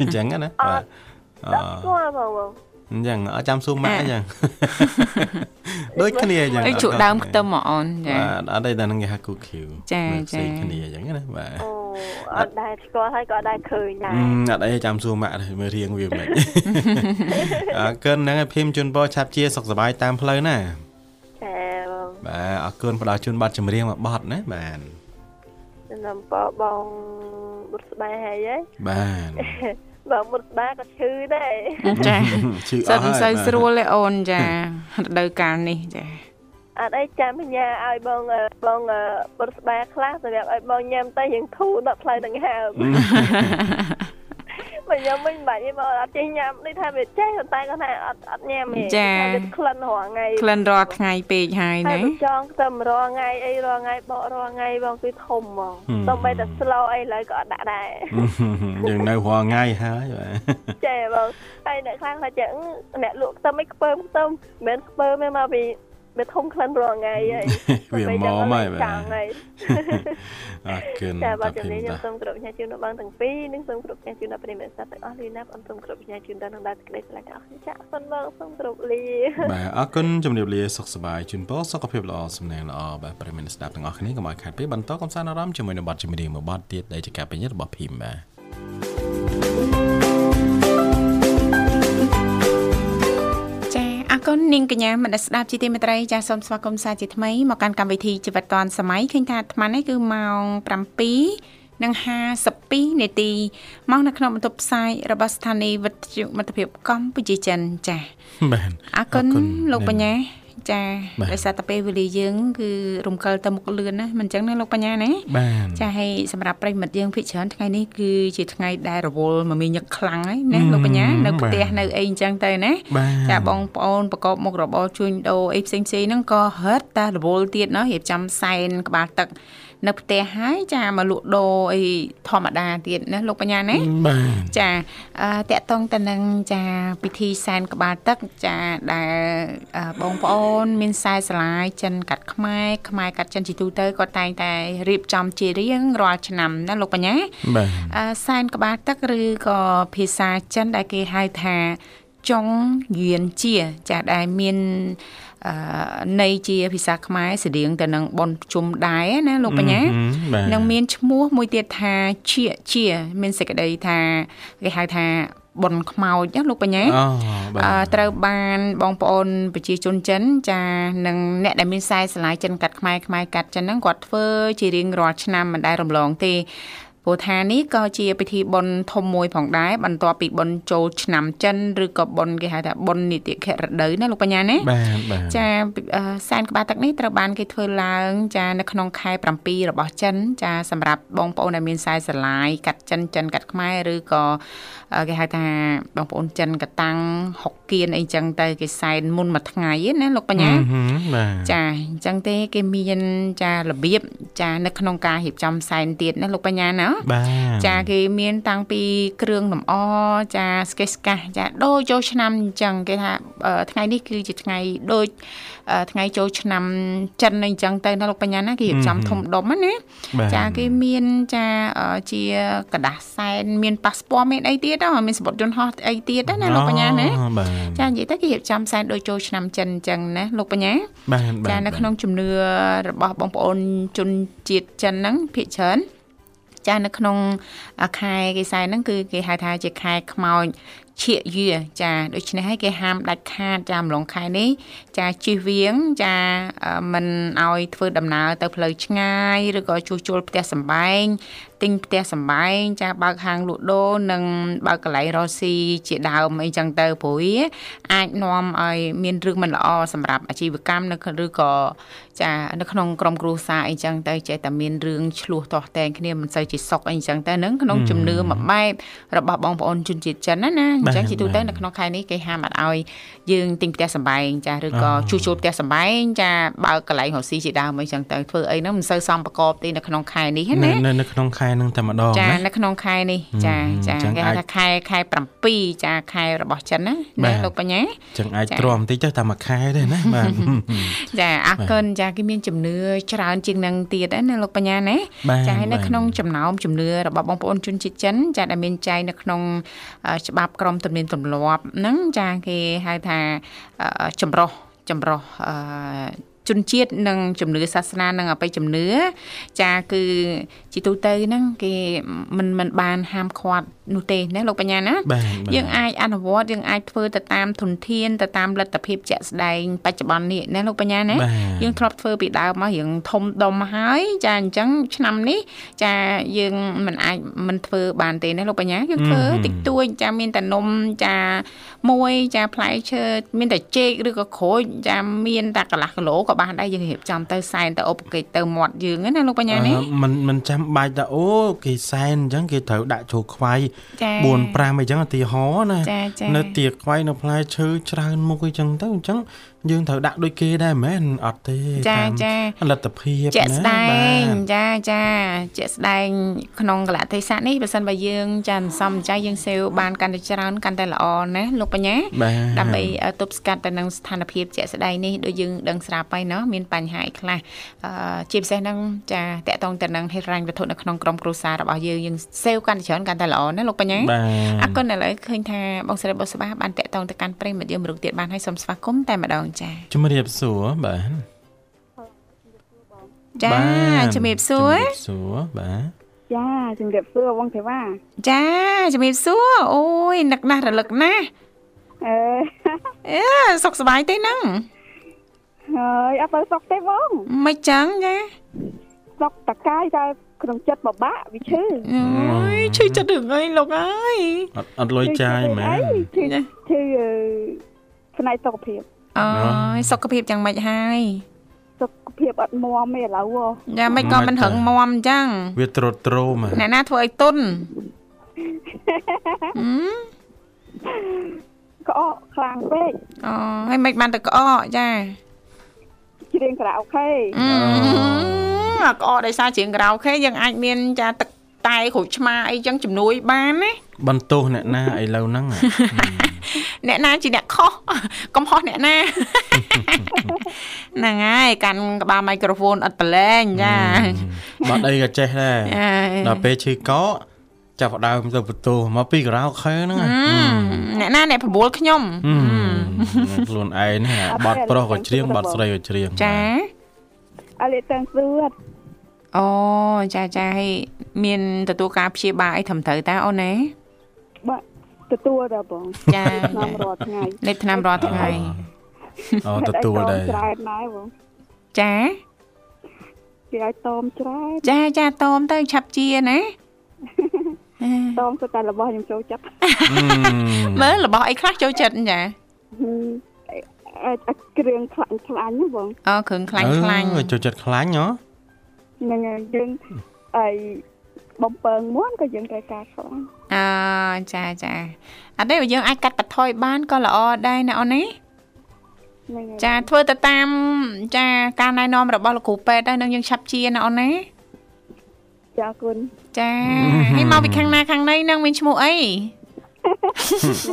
S3: អញ្ចឹងណាបាទអ
S4: ដល់
S3: ឺ
S4: ស្គាល់បងបង
S3: អញ្ចឹងអត់ចាំសួរម៉ាក់អញ្ចឹង <laughs> ដូចគ្នាអញ្ចឹង
S2: ទៅជក់ដើមខ្ទឹមមកអូនចា
S3: បាទអត់ទេតែនឹងគេហៅ cook queue
S2: ចា
S3: មើលផ្សេង
S2: ចា
S3: គ្នាអញ្ចឹងណាបាទ
S4: អូអត់ដែរស្គាល់ហើយក៏អត់ដែរឃើញដែរ
S3: អឺអត់អីចាំសួរម៉ាក់ទេមើលរៀងវា
S2: <laughs>
S3: មិនខ្មិច អរគុណហ្នឹងឯងភីមជូនពរឆាប់ជាសុខសប្បាយតាមផ្លូវណា
S4: ចាបង
S3: បាទអរគុណផ្ដល់ជូនប័ណ្ណចម្រៀងមួយប័ណ្ណណាបាទ
S4: ចំណាំបងបងមុតស្បែហើយហ៎
S3: បាទ
S4: បងមុតស្បែក៏ឈឺដែរ
S2: <laughs> ចា
S3: ជឿអ
S2: សិ
S3: ស់
S2: ត
S3: ហើយ
S2: មិនសូវ
S3: បាទ
S2: ស្រួលទេអូនចារដូវកាលនេះចា
S4: អត់អីចាំផ្ញើឲ្យបងអឺបងអឺបុរស្បែខ្លះសម្រាប់ឲ្យបងញ៉ាំទៅយើងធូរដល់ផ្លូវដង្ហើមបើញ៉ាំមិនបាច់ទេបងអត់ចេះញ៉ាំនេះថាវាចេះតែគាត់ថាអត់អត់ញ៉ាំទេ
S2: ចា
S4: ថាវាក្លិនរាល់ថ្ងៃ
S2: ក្លិនរាល់ថ្ងៃពេកហើយ
S4: ហើ
S2: ណា
S4: យបើចង់ខ្ទឹមរាល់ថ្ងៃអីរាល់ថ្ងៃបករាល់ថ្ងៃបងគឺធំហ្មង
S3: ហឹម
S4: សូម្បីតែ slow អីឡើយក៏អត់ដាក់ដែរ
S3: <laughs> យើងនៅរាល់ថ្ងៃហើយបាទ
S4: ចេះបងហើយអ្នកខ្លះថាចឹងអ្នកលក់ខ្ទឹមអីខ្ពើមខ្ទឹមមិនមែនខ្ពើមទេមកពីវាធំក្លិនរាល់ថ្ងៃហើយ
S3: វាមកហើយបាទ
S4: ចង់ហើយ
S3: អរគុណ
S4: ចាបាទ
S3: តា
S4: ជំ
S3: ភីម
S4: នាញខ្ញុំ
S3: តា
S4: សូមគោរពញ៉ាជូនដល់បងទាំងពីរនិងសូមគោរពញ៉ាជូនដល់ប្រិយមិត្តសាស្ត្រទាំងអស់លីណាប់អនសូមគោរពញ៉ាជូនដល់នឹងដល់សេចក្តីស្រឡាញ់ទាំងអស់គ្នាចាអរគុណបង
S3: បាទអរគុណ
S4: សូមគោរពលី
S3: ជំរាបលាសុខសប្បាយជូនពរសុខភាពល្អសំណាងល្អបាទប្រិយមិត្តអ្នកស្ដាប់ទាំងអស់គ្នាកុំឲ្យខាតពេលបន្តកំសាន្តអារម្មណ៍ជាមួយនឹងបទចម្រៀងមួយបទទៀតដែលជាការពេញចិត្តរបស់ភីមបាទ
S2: ចាអរគុណនាងកញ្ញាមនស្សស្ដាប់ជាទីមេត្រីចាសូមស្វាគមន៍សាជាថ្មីមកកាន់កម្មវិធីជីវិតឌွန်សម័យឃើញថាអាត្មានេះគឺម៉ោង7និង52នាទីមកនៅក្នុងបន្ទប់ផ្សាយរបស់ស្ថានីយ៍វិទ្យុមិត្តភាពកម្ពុជាចិនចា
S3: បាទ
S2: អរគុណ
S3: អរគុណ
S2: លោកបញ្ញាចា
S3: បាទ
S2: ដោយសារតែពេលវេលាយើង គឺរំកិលទៅមុខលឿនណាមិនអញ្ចឹងណាលោកបញ្ញាណា
S3: បាទ
S2: ចាហើយសម្រាប់ប្រិយមិត្តយើងភិកច្រើនថ្ងៃនេះគឺជាថ្ងៃដែលរវល់មមាញឹកខ្លាំងហើយណាលោកបញ្ញានៅផ្ទះនៅអីអញ្ចឹងទៅណា
S3: បាទ
S2: ចាបងប្អូនប្រកបមុខរបរជួញដូរអីផ្សេងផ្សេងហ្នឹងក៏ហិតតែរវល់ទៀតណោះរៀបចំសែនក្បាលទឹក នៅផ្ទះហើយចាមកលក់ដូរអីធម្មតាទៀតណាលោកបញ្ញាណា
S3: បាទ
S2: ចាតកតងតនឹងចាពិធីសែនក្បាលទឹកចាដែលអឺបងប្អូន មានខ្សែស្រឡាយចិនកាត់ខ្មែរខ្មែរកាត់ចិនជីទូទៅក៏តែងតែរៀបចំជារៀងរាល់ឆ្នាំណាលោកបញ្ញា
S3: បាទ
S2: អឺសែនក្បាលទឹកឬក៏ភាសាចិនដែលគេហៅថាចុងយៀនជាចាដែលមានអឺន័យជាភាសាខ្មែរស្រដៀងទៅនឹងបនជុំដែរណាលោកបញ្ញា
S3: បាទ
S2: នឹងមានឈ្មោះមួយទៀតថាជាជា មានសេចក្តីថាគេហៅថា បុណ្យខ្មោចណាលោកបញ្ញា
S3: អូបា
S2: អឺ
S3: ទ
S2: ត្រូវបានបងប្អូនប្រជាជនចិនចានិងអ្នកដែលមានខ្សែស្រឡាយចិនកាត់ខ្មែរខ្មែរកាត់ចិនហ្នឹងគាត់ធ្វើជារៀងរាល់ឆ្នាំមិនដែលរំលងទេពោលថានេះក៏ជាពិធីបុណ្យធំមួយផងដែរបន្ទាប់ពីបុណ្យចូលឆ្នាំចិនឬក៏បុណ្យគេហៅថាបុណ្យនីតិខរដូវណាលោកបញ្ញាណា
S3: បាទបាទ
S2: ចាអឺសែនក្បាលទឹកនេះត្រូវបានគេធ្វើឡើងចានៅក្នុងខែ7របស់ចិនចាសម្រាប់បងប្អូនដែលមានខ្សែស្រឡាយកាត់ចិនចិនកាត់ខ្មែរឬក៏អឺគេហៅថាបងប្អូនចិនកតាំងហុកគៀនអីចឹងទៅគេសែនមុនមួយថ្ងៃឯណាលោកបញ្ញា
S3: ហឹមបាទ
S2: ចាអញ្ចឹងទេគេមានចារបៀបចានៅក្នុងការរៀបចំសែនទៀតណាលោកបញ្ញាណា
S3: បាទ
S2: ចាគេមានតាំងពីគ្រឿងលម្អចាស្កេះស្កាស់ចាដូចចូលឆ្នាំអញ្ចឹងគេថាអឺថ្ងៃនេះគឺជាថ្ងៃដូចអឺថ្ងៃចូលឆ្នាំចិនអីអញ្ចឹងទៅណាលោកបញ្ញាណាគេរៀបចំធំដុំហ្នឹងណា
S3: បាទ
S2: ចាគេមានចាអឺជាกระดาษសែនមានប៉ាសពតមានអីទៀតហ៎មានសម្បុត្រយន្តហោះអីទៀតហ្នឹងណាលោកបញ្ញាណា
S3: អូបាទ
S2: ចានិយាយទៅគេរៀបចំសែនដូចចូលឆ្នាំចិនអញ្ចឹងណាលោកបញ្ញា
S3: បាទបាទ
S2: ចានៅក្នុងជំនឿរបស់បងប្អូនជនជាតិចិនហ្នឹងភាគច្រើនចានៅក្នុងខែគេខ្សែហ្នឹងគឺគេហៅថាជាខែខ្មោចឈៀកយាចាដូច្នេះហើយគេហាមដាច់ខាតចាម្លងខែនេះចាជិះវៀងចាអឺមិនឲ្យធ្វើដំណើរទៅផ្លូវឆ្ងាយឬក៏ជួសជុលផ្ទះសម្បែងទិញផ្ទះសម្បែងចាបើកហាងលក់ដូរនិងបើកកន្លែងរកស៊ីជាដើមអីចឹងទៅព្រោះវាអាចនាំឲ្យមានរឿងមិនល្អសម្រាប់អាជីវកម្មនៅក្នុងឬក៏ចានៅក្នុងក្រុមគ្រួសារអីចឹងទៅចេះតែមានរឿងឆ្លោះទាស់តែងគ្នាមិនសូវជាសុខអីចឹងទៅហ្នឹងក្នុងជំនឿមួយបែបរបស់បងប្អូនជនជាតិចិនណាណា អញ្ចឹងជាទូទៅនៅក្នុងខែនេះគេហាមអត់ឲ្យយើងទិញផ្ទះសម្បែងចាឬក៏ជួសជុលផ្ទះសម្បែងចាបើកកន្លែងរកស៊ីជាដើមអីចឹងទៅធ្វើអីហ្នឹងមិនសូវសមប្រកបទេនៅក្នុងខែនេះហ្នឹងណា
S3: នៅនៅនៅក្នុងខែហ្នឹងតែម្ដង
S2: ចា
S3: ណា
S2: នៅក្នុងខែនេះចាចា
S3: អញ្ចឹង
S2: គេហៅ
S3: អាច
S2: ថាខែខែ7ចាខែរបស់ចិនណា
S3: បា
S2: ណា
S3: ទ
S2: លោកបញ្ញា
S3: ចឹងអាច
S2: ចា
S3: ទ្រាំបន្តិចទៅតែមួយខែទេ
S2: <laughs>
S3: ណាបាទ
S2: ចាអាកិនចាគេមានជំនឿច្រើនជាងនឹងទៀតណាណាលោកបញ្ញាណា
S3: បាទ
S2: ចាហើយនៅ
S3: បាទ
S2: ក្នុងចំណោមជំនឿរបស់បងប្អូនជនជាតិចិនចាដែលមានចែងនៅក្នុងអឺច្បាប់ក្រមទំនៀមទម្លាប់ហ្នឹងចាគេហៅថាអឺចម្រោះចម្រោះអឺជនជាតិនិងជំនឿសាសនានិងអបិយជំនឿចាគឺជាទូទៅហ្នឹងគេមិនមិនបានហាមឃាត់នោះទេណាលោកបញ្ញាណា
S3: បាទបាទ
S2: យើងអាចអនុវត្តយើងអាចធ្វើទៅតាមធនធានទៅតាមលទ្ធភាពជាក់ស្ដែងបច្ចុប្បន្ននេះណាលោកបញ្ញាណា
S3: បាទ
S2: យើងធ្លាប់ធ្វើពីដើមមករឿងធំដុំហើយចាអញ្ចឹងឆ្នាំនេះចាយើងមិនអាចមិនធ្វើបានទេណាលោកបញ្ញាយើងធ្វើតិចតួចចាមានតែនំចាមួយចាផ្លែឈើមានតែចេកឬក៏ក្រូចចាមានតែកន្លះគីឡូក៏បានដែរយើងរៀបចំទៅសែនទៅឧបកិច្ចទៅមាត់យើងណាលោកបញ្ញាណា
S3: អឺមិនមិនចាំបាច់ថាអូគេសែនអញ្ចឹងគេត្រូវដាក់ចូលខ្វៃ
S2: ចា
S3: 4 5អីចឹងឧទាហរណ៍ណា
S2: ចាចា
S3: នៅទាខ្វៃនៅផ្លែឈើច្រើនមុខអីចឹងទៅអញ្ចឹងយើងត្រូវដាក់ដូចគេដែរមិនមែនអត់ទេ
S2: ចា
S3: តាម
S2: ចា
S3: លទ្ធភាព
S2: ជាក់ស្ដែ
S3: បា
S2: ង
S3: ទ
S2: ចាចាជាក់ស្ដែងក្នុងកលៈទេសៈនេះបើសិនបើយើងចាមិនសមចិត្តយើងសេវបានកាន់តែច្រើនកាន់តែល្អណាលោកបញ្ញា
S3: បាទ
S2: ដើម្បីអឺទប់ស្កាត់ទៅនឹងស្ថានភាពជាក់ស្ដែងនេះដូចយើងដឹងស្រាប់ហើយเนาะមានបញ្ហាអីខ្លះអឺជាពិសេសហ្នឹងចាតកតងទៅនឹងហិរញ្ញវត្ថុនៅក្នុងក្រុមគ្រួសាររបស់យើងយើងសេវកាន់តែច្រើនកាន់តែល្អណាលោកបញ្ញា
S3: បាទ
S2: អរគុណឥឡូវឃើញថាបងស្រីបុស្បាបានតកតងទៅកាន់ប្រិមត្តយើងមរុកទៀតបានហើយសូមស្វាគមន៍តែម្ដងចា
S3: ជំរាបសួរបាទ
S2: ចា
S3: បាទ
S2: ជំរាបសួរ
S3: ជំរាបសួរបាទ
S7: ចាជំរាបសួរបងទេវ៉ា
S2: ចាជំរាបសួរអូយនឹកណាស់រលឹកណាស់
S7: អេ
S2: អឺសុខសប្បាយទេហ្នឹង
S7: ហើយអត់ទៅសុកទេបង
S2: មិនចឹងចា
S7: សុកតកាយតែក្នុងចិត្តបបាក់វាឈឺ
S2: អូយឈឺចិត្តរឿងអីលោកអើយ
S3: អត់អត់លុយចាយមែន
S7: ឈឺឈឺអឺផ្នែកសុខភាព
S2: អ
S3: ណ៎
S2: ើយសុខភាពយ៉ាងម៉េចហើយ
S7: សុខភាពអត់មាំទេឥឡូវហ៎
S2: យ៉ាមិនក៏មិនរឹងមាំចឹង
S3: វាត្រុតត្រោម
S2: អ្នកណាធ្វើឲ្យទុនហឹម
S7: ក្អកខ្លាំងពេក
S2: អូហើយមិនបានទៅក្អកចា
S7: ច្រៀងក្រៅអូខេ
S2: អឺអាក្អកដោយសារជាងក្រៅខេយើងអាចមានចាទឹកតែគ្រូចឆ្មាអីចឹងជំនួយបានណា
S3: បន្ទោសអ្នកណាឥឡូវហ្នឹង
S2: <laughs>
S3: អ่ะ
S2: អ្នកណាជាអ្នកខុស <laughs> កំហុសអ្នកណា <laughs> ហ្នឹងហើយកាន់ក្បាលមីក្រូហ្វូនអត់ប្រឡែងចា
S3: បាត់អីក៏ចេះដែរ
S2: ចា
S3: ដល់ពេលឈឺកោចាប់ផ្ដើមទៅបន្ទោសមកពីក្រៅខែហ្នឹងអ่ะ
S2: អ្នកណាអ្នកប្របួលខ្ញុំ
S3: ហឹម <laughs> ខ្លួនឯងហ្នឹងបាត់ប្រុសក៏ច្រៀងបាត់ស្រីក៏ច្រៀង
S2: ចា
S7: អលេតាំងស្រួត
S2: អូចាចាហើយមានទទួលការព្យាបាលអីត្រឹមត្រូវតើអូនណា
S7: បាទទ ទទួលដែរបង
S2: ចា
S7: ឆ្នាំរាល់ថ្ងៃ
S2: លេខឆ្នាំរាល់ថ្ងៃ
S3: អូទទួលដែរ
S7: ហេតុអីតមច្រែកដែរបង
S2: ចា
S7: គេឲ្យតមច្រែក
S2: ចាចាតមទៅឆាប់ជា
S3: <laughs>
S2: ណា
S7: តមគឺតែរបស់ខ្ញុំចូលចិត្ត
S2: មើលរបស់អីខ្លះចូលចិត្តចា
S7: ហឹមអឺគ្រឿងខ្លាញ់ខ្លាញ់ហ្នឹងបង
S2: អូគ្រឿងខ្លាញ់ខ្លាញ់
S3: អឺចូលចិត្តខ្លាញ់ហ៎
S7: ហ្នឹងហើយយើងអីបំពើងមួនក៏យើងត្រូវការខ្លាំង
S2: អឺចាចាអត់ទេយើងអាចកាត់បន្ថយបានក៏ល្អដែរណាអូននេះ
S7: ហ្នឹងហើយ
S2: ចាធ្វើទៅតាមចាការណែនាំរបស់លោកគ្រូពេទ្យដែរនឹងយើងឆាប់ជាណាអូនណា
S7: ចាអរគុណ
S2: ចាហើយមកពីខាងណាខាងណីនឹងមានឈ្មោះអី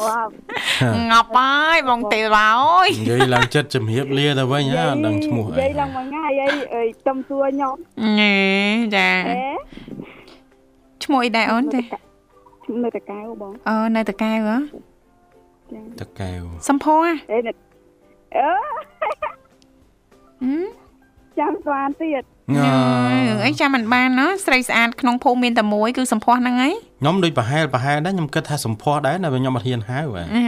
S7: វ៉ាវ
S2: ងប់ហើយបងទេវ៉ាអើយ
S3: និយាយឡើងចិត្តជំរាបលាទៅវិញហ៎អត់ដឹងឈ្មោះ
S7: និ
S3: អី
S7: យាយឡើងមួយថ្ងៃអីអីតំទួញោម
S2: ណែចា
S7: អេ
S2: ឈ្មោះអីដែរអូនទេ
S7: នៅតកែវបង
S2: អូនៅតកែវហ៎
S7: ចា
S3: តកែវ
S2: សំភ័រហ៎
S7: អេនៅអឺ
S2: ហឹម
S7: ចាំស្មានទៀត
S2: អើអីចាំមិនបានណាស្រីស្អាតក្នុងភូមិមានតែមួយគឺសម្ផស្សហ្នឹងឯង
S3: ខ្ញុំដូចប្រហែលប្រហែលដែរខ្ញុំគិតថាសម្ផស្សដែរតែខ្ញុំអត់ហ៊ានហៅបាទ
S2: អាហ្នឹង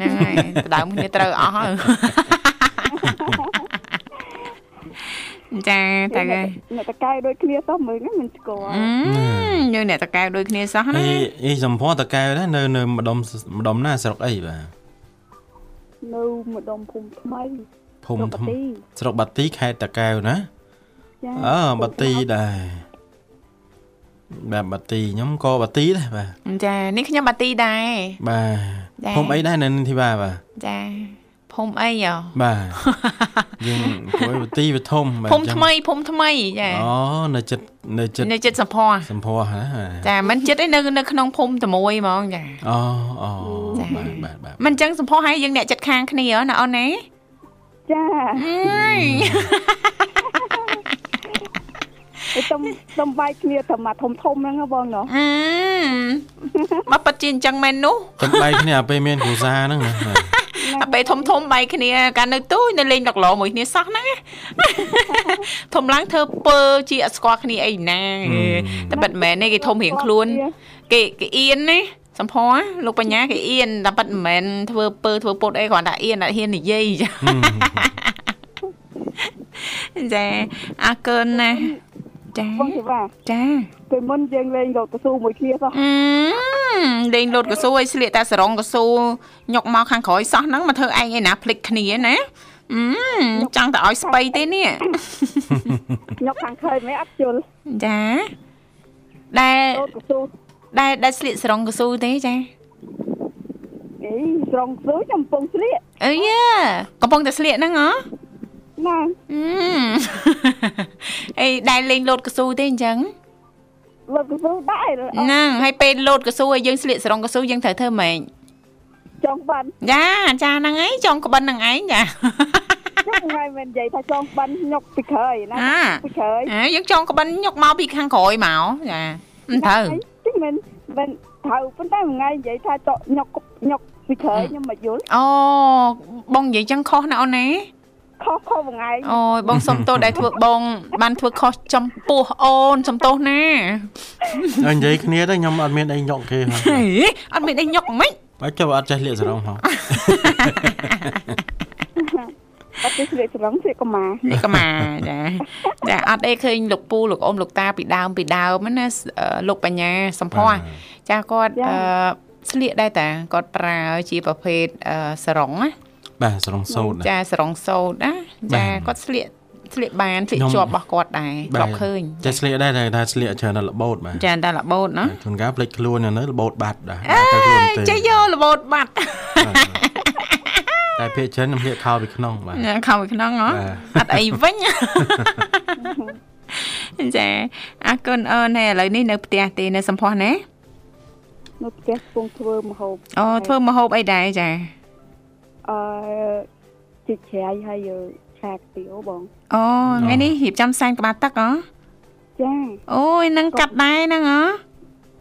S2: ហើយផ្ដើមគ្នាត្រូវអស់ហើយ <laughs> ចាតើគេ
S7: នៅតកែវដូចគ្នាទៅមើលហ្នឹងមិនស្គាល់
S2: អឺយើងអ្នកតកែវដូចគ្នាសោះ
S3: អី
S2: ណា
S3: អីសម្ផស្សតកែវដែរនៅនៅម្ដុំម្ដុំណាស្រុកអីបាទ
S7: នៅម្ដុំភូមិថ្មី
S3: ភូមិ
S7: ប្រ
S3: ធំ
S7: ទេស
S3: ស្រុកបាទីខេត្តតកែវណា
S7: ចា
S3: អឺបាទីដែរបាទបាទីខ្ញុំក៏បាទីដែរបាទ
S2: ចានេះខ្ញុំបាទីដែរដ
S3: បាទ
S2: ែរ
S3: ភូមិអីដែរនៅនិនធីវ៉ាបាទ
S2: ចាភូមិអីហ៎
S3: បាទ យើងគួរបាទីបឋមបាទ
S2: ភូមិថ្មីភូមិថ្មីចា
S3: អូនៅចិត្តនៅចិត្ត
S2: នៅចិត្តសម្ផស្ស
S3: សម្ផស្សណាបាទ
S2: ចាមិនចិត្តឯនៅនៅក្នុងភូមិតែមួយហ្មងចា
S3: អូអូ
S2: ចា
S3: បាទបាទបាទ
S2: មិនអញ្ចឹងសម្ផស្សហើយយើងអ្នកចិត្តខាងគ្នាហ៎ណាអូនណា
S7: ចា
S2: អើយ
S7: ទៅតំតំបាយគ្នាតែមកធំធំហ្នឹងហ៎បងណោះ
S2: អឺមកប៉ាត់ជាអញ្ចឹងមែននោះ
S3: ចំដៃគ្នាអាពេលមានគ្រូសាហ្នឹងណាបាទ
S2: អាពេលធំធំបែកគ្នាកាលនៅទូចនៅលេងដកឡមួយគ្នាសោះហ្នឹង <laughs> ណាធំឡើងធ្វើពើជាអត់ស្គាល់គ្នាអីណាតែប៉ាត់មែនទេគេធំរៀងខ្លួនគេគេអៀនណាសំភ័រលោកបញ្ញាគេអៀនតែប៉ាត់មិនមែនធ្វើពើធ្វើពុតអីគ្រាន់តែអៀនអត់ហ៊ាននិយាយ <laughs> ចា
S3: ហឹម
S2: ចាអរគុណណាស់ចា
S7: បងជីវ៉ា
S2: ចា
S7: ពេលមុនយើងលេងលោកកស៊ូមួយគ្នាសោះ
S2: អឺលេងលោតកស៊ូឲ្យស្លៀកតែសរងកស៊ូញុកមកខាងក្រោយសោះហ្នឹងមកធ្វើឯងឯណាភ្លេចគ្នាណាអឺចង់តែឲ្យស្បៃទេនេះ <laughs>
S7: ខ្ញុំខាងឃើញមិនអត់ជុល
S2: ចាដែល
S7: លោកកស៊ូ
S2: ដែលដែលស្លៀកស្រងកស៊ូទេចា
S7: អីស្រងស៊ូខ្ញុំកំពុងស្លៀក
S2: អីយ៉ាកំពុងតែស្លៀកហ្នឹងហ៎
S7: ណា
S2: អឺ អីដែលលេងលោតកស៊ូទេអញ្ចឹង
S7: លោកកស៊ូដែរ
S2: ហ្នឹងហើយពេលលោតកស៊ូឲ្យយើងស្លៀកស្រងកស៊ូយើងត្រូវធ្វើម៉េច
S7: ចង់បាន
S2: ចាចាហ្នឹងឯងចង់ក្បិនហ្នឹងឯងចា
S7: ខ្ញុំថ្ងៃមិននិយាយថាចង់បានខ្ញុំពីក្រោយណា
S2: អា
S7: ពីក្រោយ
S2: អើយើងចង់ក្បិនញុកមកពីខាងក្រោយមកចាមិនត្រូវ
S7: ខ្ញុំមិនមិនត្រូវប៉ុន្តែមួយថ្ងៃនិយាយថាចង់ខ្ញុំខ្ញុំពីក្រោយខ្ញុំមកយល់
S2: អូបងនិយាយចឹងខុសណាអូនណា
S7: ខុសខុសមួយថ្ងៃ
S2: អូយបងសុំទោសដែលធ្វើបង បានធ្វើខុសចំពោះអូនសុំទោសណា
S3: ហើយនិយាយគ្នាទៅខ្ញុំអត់មានអីញុកគេហ
S2: ហេអត់មានអីញុកហ្មិច
S3: ៎បាទចុះអត់ចេះលាកសរងហ៎
S7: អត់ទៅស្លៀកស្រងស្លៀកកម៉ា
S2: នេះក៏
S3: <laughs>
S2: មកចាចាអត់អីឃើញលោកពូលោកអ៊ំលោកតាពីដើមពីដើមហ្នឹងណាសអឺលោកបញ្ញាសំភ័រចាគាត់អឺស្លៀកដែរតាគាត់ប្រើជាប្រភេទអឺសរងណា
S3: បាទសរងសូត្រណា
S2: ចាសរងសូត្រណាចា
S3: បាទ
S2: គាត់ស្លៀកស្លៀកបានស្លៀក
S3: ខ្ញុំ
S2: ជាប់របស់គាត់ដែរ
S3: បាទ
S2: គាត់ឃើញ
S3: ចេះស្លៀកដែរតែថាស្លៀកច្រើនដល់ល្បូតបាទ
S2: ចាតែរបូតណា
S3: ជួនកាលភ្លេចខ្លួននៅនៅរបូតបាត់ដែរតែខ្លួនទេ
S2: ចេះយកររបូតបាត់ <laughs>
S3: បាទតែភាកច្រើនខ្ញុំភ្លេចខោពីក្នុងបាទ
S2: ណាខំពីក្នុងហ៎
S3: បា
S2: អត់អីវិញ <laughs> ចាអរគុណអូនហើយឥឡូវនេះនៅផ្ទះទេនៅសំភ័សណា
S7: នៅផ្ទះកំពុងធ្វើម្ហូប
S2: អូធ្វើម្ហូបអីដែរចា
S7: អឺជីច្រៃហើយយកឆាខ្ទាវបង
S2: អូថ្ងៃនេះរៀបចំសែនក្បាលទឹកហ៎
S7: ចា
S2: អូយនឹងកាត់ដែរហ្នឹងហ៎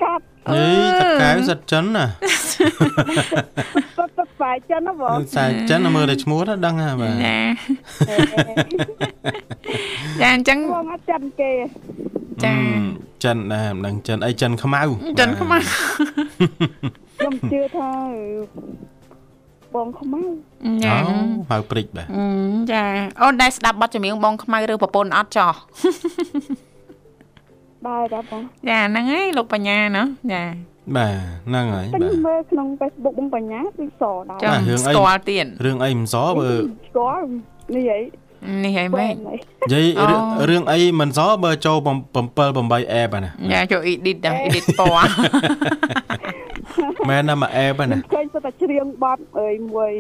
S7: កាត់
S3: អីតកែវសិតចិនណា
S7: ប៉ប៉ប៉ាយចឹងណាបង
S3: សាចិនណាមើលតែឈ្មោះទៅដឹងហ่าបាទ
S2: ចាចាអញ្ចឹង
S7: បងអត់ចាំគេ
S2: ចា
S3: ចិនដែរមិនដឹងចិនអីចិនខ្មៅ
S2: ចិនខ្មៅ
S7: ខ្ញុំជឿថាបងខ្មៅ
S2: ចា
S3: អូហៅព្រិចដែរ
S2: ចាអូនដែរស្ដាប់បទចម្រៀងបងខ្មៅឬប្រពន្ធអត់ចោះ
S7: ដែរដែរបង
S2: ចាហ្នឹងហើយលោកបញ្ញាណោះចា
S3: បាទហ្នឹងហើយ
S7: តែ
S3: បាទ
S7: ខ្ញុំមើលក្នុង Facebook បងបញ្ញាគឺសដែរ
S2: ច
S3: ចា
S2: ង់
S3: រឿងអី
S2: ស្គាល់ទៀត
S3: រឿងអីមិនសបើ
S7: ស្គាល់នេះហី
S2: នេះហើយមែន
S7: ហ្
S3: និយាយ
S2: អូ
S3: រឿងរឿងអីមិនសបើចូល7 8 app ហ្នឹង
S2: យ៉ាចូល edit ដល់ edit ព <laughs> ណ៌
S3: មែនណាមក app ហ្នឹង
S7: នេះឃើញសត្វតែច្រៀងបត់អើយមួយ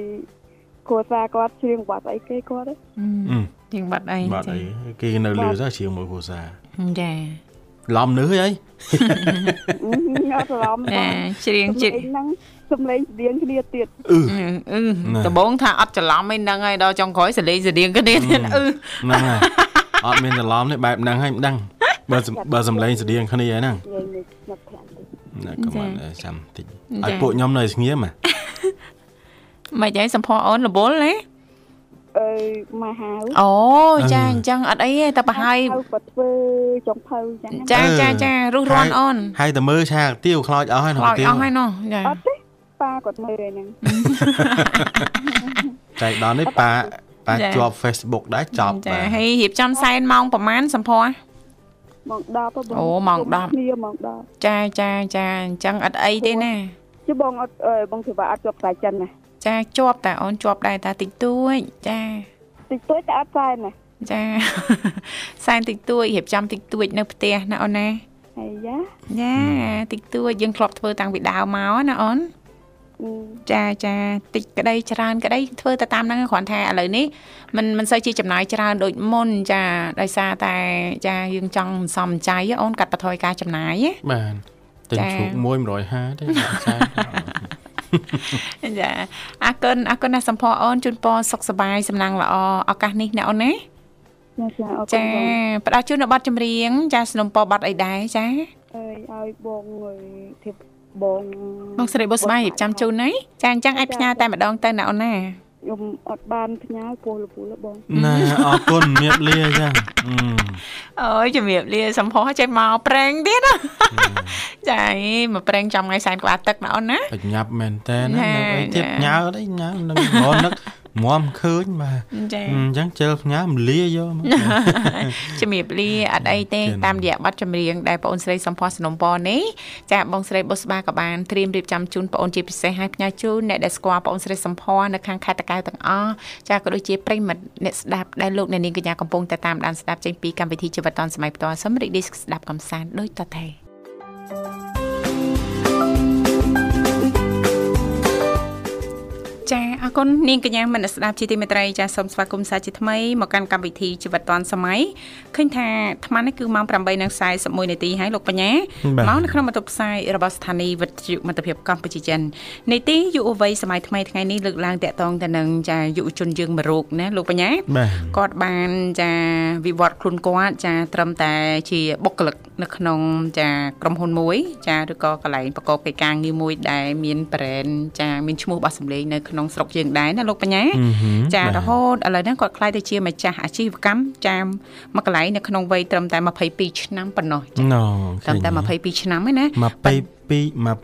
S7: គ្រួសារគាត់ច្រៀងបត់អីគេគាត់ហ៎
S3: ហឹម
S2: ជាងបាត់អី
S3: បាត់អីគេនៅលឺសោះជាងមួយគ្រួសារ
S2: ចា
S3: ឡំនឿយអី
S7: អត់រំ
S2: <laughs> ចាច្រៀងជិត
S7: ហ្នឹងសំឡេងស្តៀងគ្នាទៀត
S3: អឺ
S2: អឺ
S3: ណា
S2: ដំបងថាអត់ច្រឡំអីហ្នឹងហើយដល់ចុងក្រោយសលេងសរៀងគ្នាទៀតអឺ
S3: ហ្នឹងហើយអត់មានច្រឡំទេបែបហ្នឹងហើយមិនដឹងបើសំបើសំឡេងស្តៀងគ្នាហ្នឹង
S7: និយាយនេះស្ងប់ខ្លាំងតិច
S3: ណាកុំអត់ចាំតិចឲ្យពួកខ្ញុំនៅស្ងៀមហ៎
S2: មិនយ៉ាងសំភ័រអូនរវល់ហ៎
S7: អើយមកហៅ
S2: អូចាអញ្ចឹងអត់អីទេតែប្រហែល
S7: ហៅក៏ធ្វើចុងភៅចឹង
S2: ចាចាចារុះរាន់អូន
S3: ហើយតែមើលឆាកទៀវខ្លោចអស់ហើយ
S2: ខ្លោចអស់ហើយនោះចា
S7: អ <laughs> ត់ទេប៉ាគាត់មើលហ្នឹង
S3: ចែកដល់នេះប៉ាប៉ាជាប់ Facebook ដែរចប់
S2: ចា
S3: បាទ
S2: ហើយរៀបចំសែនម៉ោងប្រហែលសំភ័រ
S7: ម៉ោង10ហ៎បង
S2: អូម៉ោង10
S7: គុំគ្នាម៉ោង10
S2: ចាចាចាអញ្ចឹងអត់អីទេណា
S7: ជិះបងអត់អើយបងធ្វើបាអត់ជាប់ខ្សែចិនណា
S2: ចាជាប់តែអូនជាប់ដែរតាតិចតួចចា
S7: តិចតួចតែអត់ខ្សែណា
S2: ចា <laughs> សែនតិចតួចរៀបចំតិចតួចនៅផ្ទះណាអូនណា
S7: ហើយយ៉ា
S2: ចាតិចតួចយើងធ្លាប់ធ្វើតាំងពីដើមមកណាអូន
S7: អឺ
S2: ចាចាតិចក្តីច្រើនក្តីធ្វើទៅតាមហ្នឹងគ្រាន់តែឥឡូវនេះมันមិនសូវជាចំណាយច្រើនដូចមុនចាដោយសារតែចាយើងចង់សន្សំចៃហ៎អូនកាត់បន្ថយការចំណាយហ៎
S3: បាទទិញ
S2: ចា
S3: ជ្រូកមួយ150ទេ <laughs> ចែកដល់
S2: ចាអរគុណអរគុណណាស់សំភ័រអូនជូនពរសុខសប្បាយសំណាងល្អឱកាសនេះណាអូនណា
S7: ចាចាអ
S2: ចា
S7: រគុណបង
S2: ផ្ដល់ជូននៅប័ណ្ណចម្រៀងចាสนុំពរប័ណ្ណអីដែរចា
S7: អើយឲ្យបងអើយធ្វើបង
S2: បងស្រីបុស្បាយរៀបចំជូនណាចាអញ្ចឹងអាចផ្ញើតែម្ដងទៅណាអូនណា
S7: ខ្ញុំអត់បានផ្ញើពោះលពូលបង
S3: ណែអរគុណមៀបលាចាអឺ
S2: អូយជំរាបលាសំភោះចេះមកប្រេងទៀតណា <laughs> ចាអីមកប្រេងចាំថ្ងៃសែនក្បាលទឹកណាអូនណា
S3: បញ្ញាប់មែនតើណា
S2: ណែ
S3: នៅទៀត
S2: ចា
S3: ញ៉ៅអីញ៉ៅ <laughs> នឹងងន់នឹកងំឃើញបាទ
S2: ចា
S3: អញ្ចឹងជិលផ្ញើមលាយកមក
S2: ជំរាបលាអត់អីទេ
S3: ចា៎
S2: តាមរយៈប័ណ្ណចម្រៀងដែលបងអូនស្រីសំភោះสนុំពរនេះចាបងស្រីបុស្បាក៏បានត្រៀមរៀបចំជូនបងអូនជាពិសេសឲ្យផ្ញើជូនអ្នកដែលស្គាល់បងអូនស្រីសំភោះនៅខាងខេត្តតាកែវទាំងអស់ចាក៏ដូចជាប្រិយមិត្តអ្នកស្ដាប់ដែលលោកអ្នកនាងកញ្ញាកំពុងតែតាមដានស្ដាប់ចេញពីកម្មវិធីជីវិតឌុនសម័យផ្ទាល់សូមរីករាយស្ដាប់កំសាន្តដូចតទៅចាអរគុណនាងកញ្ញាមនស្សស្ដាប់ជាទីមេត្រីចាសូមស្វាគមន៍សាជាថ្មីមកកាន់កម្មវិធីជីវិតឌុនសម័យឃើញថាអាត្មានេះគឺម៉ោង8:41នាទីហើយលោកបញ្ញា
S3: បា
S2: មក
S3: ទ
S2: នៅក្នុងបន្ទប់ផ្សាយរបស់ស្ថានីយ៍វិទ្យុមិត្តភាពកម្ពុជាចិននីតិយុវវ័យសម័យថ្មីថ្ងៃនេះលើកឡើងតាក់ទងទៅនឹងចាយុវជនយើងមួយរូបណាលោកបញ្ញា
S3: បាទ
S2: គាត់បានចាវិវត្តខ្លួនគាត់ចាត្រឹមតែជាបុគ្គលិកនៅក្នុងចាក្រុមហ៊ុនមួយ ចាឬក៏កន្លែងប្រកបកិច្ចការងារមួយដែលមាន brand ចាមានឈ្មោះរបស់សម្លេងនៅក្នុងស្រុកយើងដែរណាលោកបញ្ញា
S3: អឺហឹម
S2: ចា
S3: បាទ
S2: រហូតឥឡូវហ្នឹងគាត់ខ្លាយទៅជាម្ចាស់អាជីវកម្មចាមកកន្លែងនៅក្នុងវ័យត្រឹមតែ22ឆ្នាំប៉ុណ្ណោះចា
S3: ណូ
S2: ត្រឹមតែ22ឆ្នាំឯណា
S3: 22 22
S2: 22
S3: ឆ្នាំបាទ22ឆ្នាំបាទ
S2: ចា22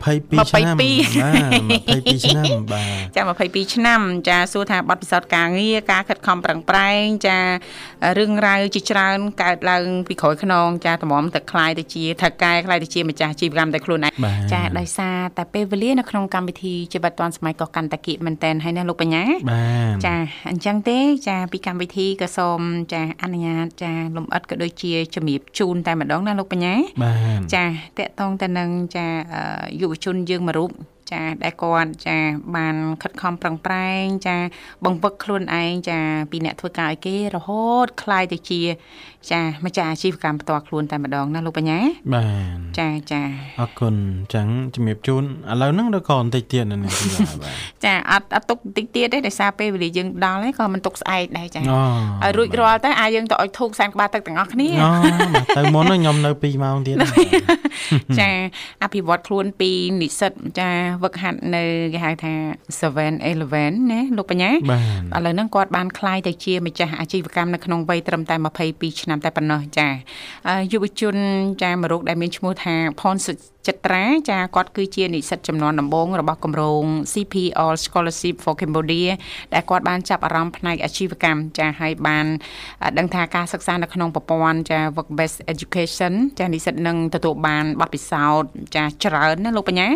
S2: ឆ្នាំចាសួរថាបទពិសោធន៍ការងារការខិតខំប្រឹងប្រែងចារឿងរ៉ាវជាច្រើនកើតឡើងពីក្រោយខ្នងចាតម្រាំទៅคลายទៅជាថៅកែคลายទៅជាម្ចាស់អាជីវកម្មតែខ្លួនឯង
S3: បាទ
S2: ចា <laughs> ដោយសារតែពេលវេលានៅក្នុងកម្មវិធីជីវិតឌွန်សម័យក៏កាន់តែគៀកមែនតែនហើយណាលោកបញ្ញា
S3: បាទ
S2: ចាអញ្ចឹងទេចាពីកម្មវិធីក៏សូមចាអនុញ្ញាតចាលំអិតក៏ដូចជាជំរាបជូនតែម្ដងណាលោកបញ្ញា
S3: បាទ
S2: ចាតកតងទៅនឹងចាអឺយុវជនយើងមួយរូបចាដែលគាត់ចាបានខិតខំប្រឹងប្រែងចាបង្វឹកខ្លួនឯងចាពីអ្នកធ្វើការឲ្យគេរហូតคล้ายទៅជា ចាម្ចាស់អាជីវកម្មផ្ទាល់ខ្លួនតែម្ដងណាលោកបញ្ញា
S3: បាទ
S2: ចាចា
S3: អរគុណអញ្ចឹងជំរាបជូនឥឡូវហ្នឹងឬក៏បន្តិចទៀត
S2: <laughs>
S3: នៅនេះបាទបាទ
S2: ចាអត់អត់ទុកបន្តិចទៀតទេដោយសារពេលវេលាយើងដល់ហើយក៏មិនទុកស្អែកដែរចា
S3: អូ
S2: ឲ្យរួចរាល់ទៅអាចយើងទៅអុជធូបសែនក្បាលទឹកទាំងអស់គ្នា
S3: អូបាទទៅមុនហ្នឹងខ្ញុំនៅ2ម៉ោងទៀត
S2: ចាអភិវឌ្ឍខ្លួនពីនិស្សិតចា វឹកហាត់នៅគេហៅថា711ណាលោកបញ្ញា
S3: បាទ
S2: ឥឡូវហ្នឹងគាត់បានคลายទៅជាម្ចាស់អាជីវកម្មនៅក្នុងវ័យត្រឹមតែ22ឆ្នាំតែប៉ុណ្ណោះចាអឺយុវជនចាមករកដែលមានឈ្មោះថាផនសុចិត្រាចាគាត់គឺជានិស្សិតចំនួនដំបូងរបស់គម្រោង CP All Scholarship for Cambodia ដែលគាត់បានចាប់អារម្មណ៍ផ្នែកអាជីវកម្មចាហើយបានដឹងថាការសិក្សានៅក្នុងប្រព័ន្ធចា Work Based Education ចានិស្សិតនឹងទទួលបានបទពិសោធន៍ចាច្រើនណាលោកបញ្ញា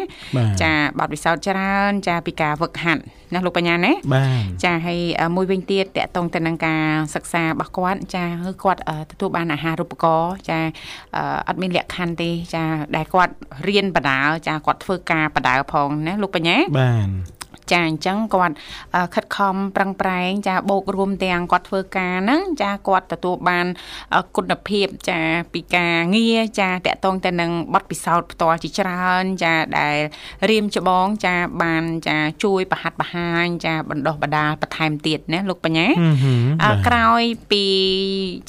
S3: ចា
S2: ចាបទពិសោធន៍ច្រើន ចាពីការហ្វឹកហាត់ណាលោកបញ្ញាណា
S3: បាទ
S2: ចាហើយអ่าមួយវិញទៀតតកតងទៅនឹងការសិក្សារបស់គាត់ចាគឺគាត់អ่าទទួលបានអាហារូបករណ៍ចាអឺអត់មានលក្ខខណ្ឌទេចាដែលគាត់រៀនបដាលចាគាត់ធ្វើការបដាលផងណាលោកបញ្ញា
S3: បាទ
S2: ចាអញ្ចឹងគាត់អ่าខិតខំប្រឹងប្រែងចាបូករួមទាំងគាត់ធ្វើការហ្នឹងចាគាត់ទទួលបានអ่าគុណភាពចាពីការងារចាតកតងទៅនឹងបទពិសោធន៍ផ្ទាល់ជាច្រើនចាដែលរៀមច្បងចាបានចាជួយបរហាត់បរហាញចាបណ្ដោះបណ្ដាលបន្ថែមទៀតណាលោកបញ្ញា
S3: ហឹមហឹម
S2: អ่า
S3: បាទ
S2: ក្រោយពី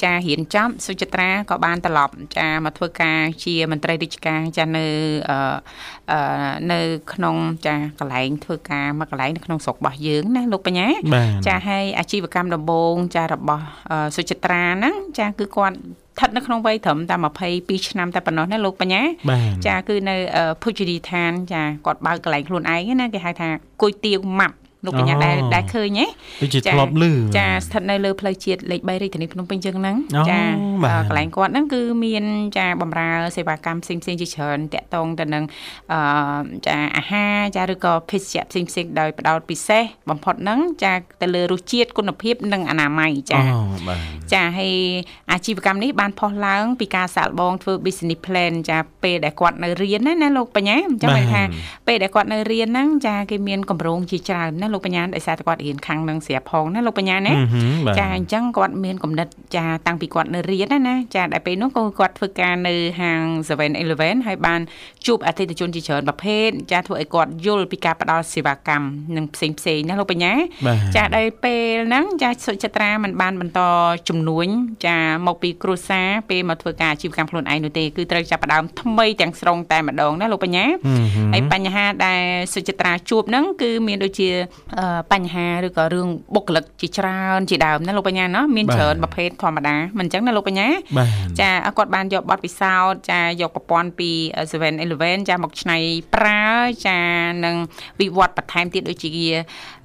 S2: ចារៀនចប់សុចិត្រាក៏បានត្រឡប់ចាមកធ្វើការជាមន្ត្រីរាជការចានៅអឺអឺនៅក្នុងចាកន្លែងធ្វើការមួយកន្លែងនៅក្នុងស្រុករបស់យើងណាលោកបញ្ញា
S3: បាទ
S2: ចាហើយអាជីវកម្មដំបូងចារបស់អឺសុចិត្រាហ្នឹងចាគឺគាត់ស្ថិតនៅក្នុងវ័យត្រឹមតែ22ឆ្នាំតែប៉ុណ្ណោះណាលោកបញ្ញា
S3: បាទ
S2: ចាគឺនៅអឺភុជរីឋានចាគាត់បើកកន្លែងខ្លួនឯងណាគេហៅថាគុយទាវម៉ាប់លោកបញ្ញាដែលដែលឃើញហ៎
S3: ដូចជា
S2: ចា
S3: ធ្លាប់លឺ
S2: ចាស្ថិតនៅលើផ្លូវជាតិលេខ3រាជធានីភ្នំពេញជាងហ្នឹង
S3: អូ
S2: ចា
S3: បាទ
S2: អ่ากន្លែងគាត់ហ្នឹងគឺមានចាបំរើសេវាកម្មផ្សេងផ្សេងៗជាច្រើនតាក់ទងទៅនឹងអឺចាអាហារចាឬក៏ភេសជ្ជៈផ្សេងផ្សេងៗដោយផ្ដោតពិសេសបំផុតហ្នឹងចាទៅលើរសជាតិគុណភាពនិងអនាម័យចា
S3: អូបាទ
S2: ចាហើយអាជីវកម្មនេះបានផុសឡើងពីការសាកល្បងធ្វើ business plan ចាពេលដែលគាត់នៅរៀនណាណាលោកបញ្ញាអញ្ចឹង
S3: បាទ
S2: មានថាពេលដែលគាត់នៅរៀនហ្នឹងចាគេមានកម្រងជាច្រើនណាលោកបញ្ញាដោយសារតែគាត់រៀនខាងនឹងស្រាប់ផងណាលោកបញ្ញាណា
S3: ហឹមហឹមបាទ
S2: ចាអញ្ចឹងគាត់មានគំនិតចាតាំងពីគាត់នៅរៀនណាណាចាដល់ពេលនោះក៏គាត់ធ្វើការនៅហាង7-Eleven ហើយបានជួបអតិថិជនជាច្រើនប្រភេទចាធ្វើឲ្យគាត់យល់ពីការផ្ដល់សេវាកម្មនិងផ្សេងផ្សេងៗណាលោកបញ្ញា
S3: បាទ
S2: ចាដល់ពេលហ្នឹងចាសុចិត្រាមិនបានបន្តជំនួញចាមកពីគ្រួសារពេលមកធ្វើការអាជីវកម្មខ្លួនឯងនោះទេគឺត្រូវចាប់ផ្ដើមថ្មីទាំងស្រុងតែម្ដងណាលោកបញ្ញា
S3: ហឹមហឹម
S2: ហើយបញ្ហាដែលសុចិត្រាជួបហ្នឹងគឺមានដូចជាអឺបញ្ហាឬក៏រឿងបុគ្គលិកជាច្រើនជាដើមណាលោកបញ្ញាណោះមាន
S3: បាទ
S2: ច្រើនប្រភេទធម្មតាមិនអញ្ចឹងណាលោកបញ្ញា
S3: បាទ
S2: ចាគាត់បានយកបទពិសោធន៍ចាយកប្រព័ន្ធពី7 Eleven ចាមកឆ្នៃប្រើចានឹងវិវត្តបន្ថែមទៀតដូចជា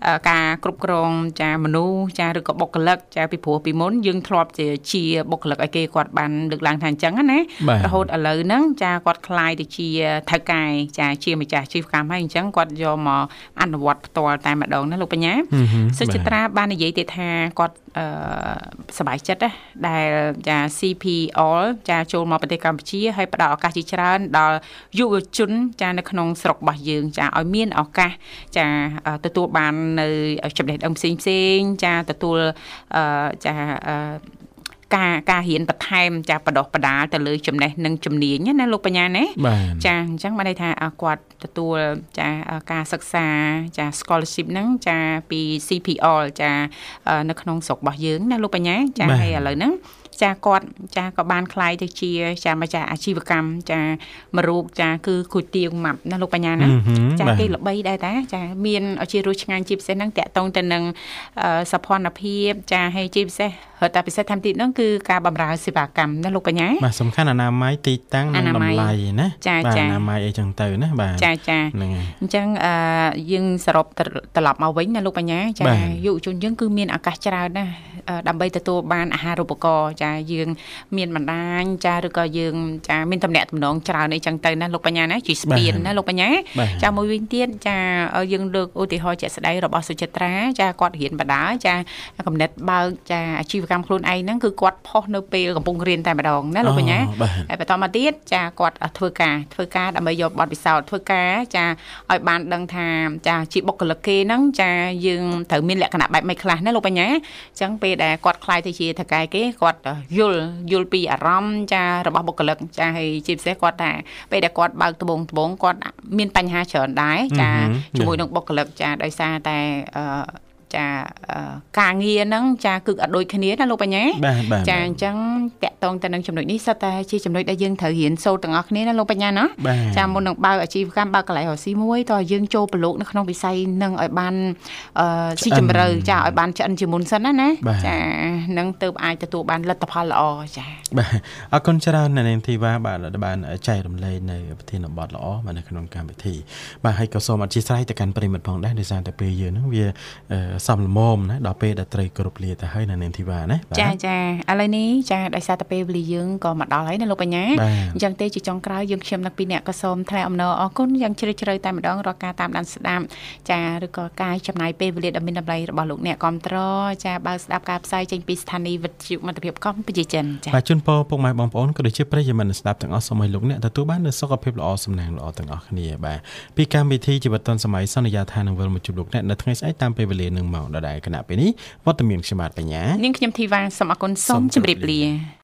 S2: អឺការគ្រប់គ្រងចាមនុស្សចាឬក៏បុគ្គលិកចាពីព្រោះពីមុនយើងធ្លាប់ជាជាបុគ្គលិកឲ្យគេគាត់បានលើកឡើងថាអញ្ចឹងណា
S3: បាទ
S2: រហូតឥឡូវហ្នឹងចាគាត់คลายទៅជាថៅកែចាជាម្ចាស់អាជីវកម្មហើយអញ្ចឹងគាត់យកមកអនុវត្តផ្ទាល់តែម្ដងណាលោកបញ្ញា
S3: ហឹមហឹម
S2: សុចិ
S3: បាទ
S2: ត្រាបាននិយាយទៀតថាគាត់អឺសប្បាយចិត្តណាស់ដែលចា CPL ចាចូលមកប្រទេសកម្ពុជាហើយផ្ដល់ឱកាសជាច្រើនដល់យុវជនចានៅក្នុងស្រុករបស់យើង ចាឲ្យមានឱកាសចាអឺទទួលបាននៅចំណេះដឹងផ្សេងផ្សេងៗចាទទួលអឺចាអឺការការរៀនបន្ថែមចាបដោះបដាលទៅលើចំណេះនិងជំនាញណាលោកបញ្ញាណា
S3: បាទ
S2: ចាអញ្ចឹងបានន័យថាអ่าគាត់ទទួលចាអ่าការសិក្សាចា scholarship ហ្នឹងចាពី CPL ចាអ่าនៅក្នុងស្រុករបស់យើងណាលោកបញ្ញាចាហើយឥឡូវហ្នឹងចាគាត់ចាក៏បានคลายទៅជាចាម្ចាស់អាជីវកម្មចាមួយរូបចាគឺគួយទៀងម៉ាប់ណាលោកបញ្ញាណា
S3: ហឹមហឹម
S2: ចា
S3: បាទ
S2: គេល្បីដែរតាចាមានអជារសឆ្ងាញ់ជាពិសេសហ្នឹងតាក់ទងទៅនឹងអឺសោភ័ណភាពចាហើយជាពិសេសរត់តែពិសេសតាមទីហ្នឹងគឺការបម្រើសេវាកម្មណាលោកបញ្ញា
S3: បាទសំខាន់អនាម័យទីតាំង
S2: អ
S3: និង
S2: នាម័យ
S3: តម្លៃណា
S2: ចា
S3: បាទ
S2: ចា
S3: អនាម័យអីចឹងទៅណាបាទ
S2: ចាចា
S3: ហ្នឹងហើយ
S2: អញ្ចឹងអឺយើងសរុបត្រត្រឡប់មកវិញណាលោកបញ្ញាចា
S3: បាទ
S2: យុវជនយើងគឺមានឱកាសច្រើនណាស់អឺដើម្បីទទួលបានអាហារូបករណ៍ចាយើងមានបណ្ដាញចាឬក៏យើងចាមានតំណែងតំណងច្រើនអីចឹងទៅណាលោកបញ្ញាណាជាស្ពាន
S3: បាទ
S2: ណាលោកបញ្ញា
S3: បាទ
S2: ចាមួយវិញទៀតចាអឺយើងលើកឧទាហរណ៍ជាក់ស្ដែងរបស់សុចិត្រាចាគាត់រៀនបណ្ដាលចាកំណត់បើកចាអាជីវកម្មខ្លួនឯងហ្នឹងគឺគាត់ផុសនៅពេលកំពុងរៀនតែម្ដងណាលោកបញ្ញា
S3: អូបាទ
S2: ហើយបន្តមកទៀតចាគាត់ធ្វើការធ្វើការដើម្បីយកបទពិសោធន៍ធ្វើការចាឲ្យបានដឹងថាចាជាបុគ្គលិកគេហ្នឹងចាយើងត្រូវមានលក្ខណៈបែបម៉េចខ្លះណាលោកបញ្ញាអញ្ចឹងពេលដែលគាត់ខ្លាយទៅជាថៅកែគេគាត់យល់យល់ពីអារម្មណ៍ចារបស់បុគ្គលិកចាហើយជាពិសេសគាត់ថាពេលដែលគាត់បើកត្បូងត្បូងគាត់មានបញ្ហាច្រើនដែរចា
S3: ហឹម
S2: ជាមួយ
S3: ហឹម
S2: នឹងបុគ្គលិកចាដោយសារតែអឺ ចាការងារហ្នឹងចាគឺអត់ដូចគ្នាណាលោកបញ្ញា
S3: បាទបាទ
S2: ចាអញ្ចឹងតកតងទៅនឹងចំណុចនេះសិតតែជាចំណុចដែលយើងត្រូវរៀនសូត្រទាំងអស់គ្នាណាលោកបញ្ញាណា
S3: បាទ
S2: ចាមុននឹងបើកអាជីវកម្មបើកកន្លែងរកស៊ីមួយតើយើងចូលប្រឡូកនៅក្នុងវិស័យហ្នឹងឲ្យបានអឺស៊ីជម្រៅចាឲ្យបានឆ្អិនជាមុនសិនណាណា
S3: បាទ
S2: ចានឹងទៅអាចទទួលបានលទ្ធផលល្អចា
S3: បាទអរគុណច្រើនអ្នកនាងធីវ៉ាបាទដែលបានចែករំលែកនៅប្រធានបទល្អបាទនៅក្នុងកម្មវិធីបាទហើយក៏សូមអធិស្ឋានទៅកាន់ប្រិមត្តផងដែរដោយសារតែពេលយើងហ្នឹងវាអឺសំលមមណាដល់ពេលដែលត្រូវគ្រប់លាទៅហើយអ្នកនាងធីវ៉ាណាបាទ
S2: ចាចាឥឡូវនេះចាដោយសារតែពេលវេលាយើងក៏មកដល់ហើយណាលោកបញ្ញា
S3: បាទ
S2: អញ្ចឹងទេជាចុងក្រោយយើងខ្ញុំទាំងពីរអ្នកក៏សូមថ្លែងអំណរអរគុណយ៉ាងជ្រាលជ្រៅតែម្ដងរាល់ការតាមដានស្ដាប់ចាឬក៏ការចំណាយពេលវេលាដ៏មានតម្លៃរបស់លោកអ្នកគ្រប់ត្រចាបើស្ដាប់ការផ្សាយចេញពីស្ថានីយ៍វិទ្យុមិត្តភាពកម្ពុជាចិនចា
S3: បាទជូនពរពុកម៉ែបងប្អូនក៏ដូចជាប្រិយមិត្តអ្នកស្ដាប់ទាំងអស់សូមឲ្យលោកអ្នកទទួលបាននូវសុខភាពល្អសំណាងល្អទាំងអស់គ្នាបាទពីកម្មវិធីជីវិតឌុនសម័យសន្យាថានឹងវិលមកជួបលោកអ្នកនៅថ្ងៃស្អែកតាមពេលវេលានឹងមកដដែលគណៈពេលនេះវត្តមានខ្ញុំបាទបញ្ញា
S2: នាងខ្ញុំធីវ៉ាសូមអរគុណសូមជម្រាបលា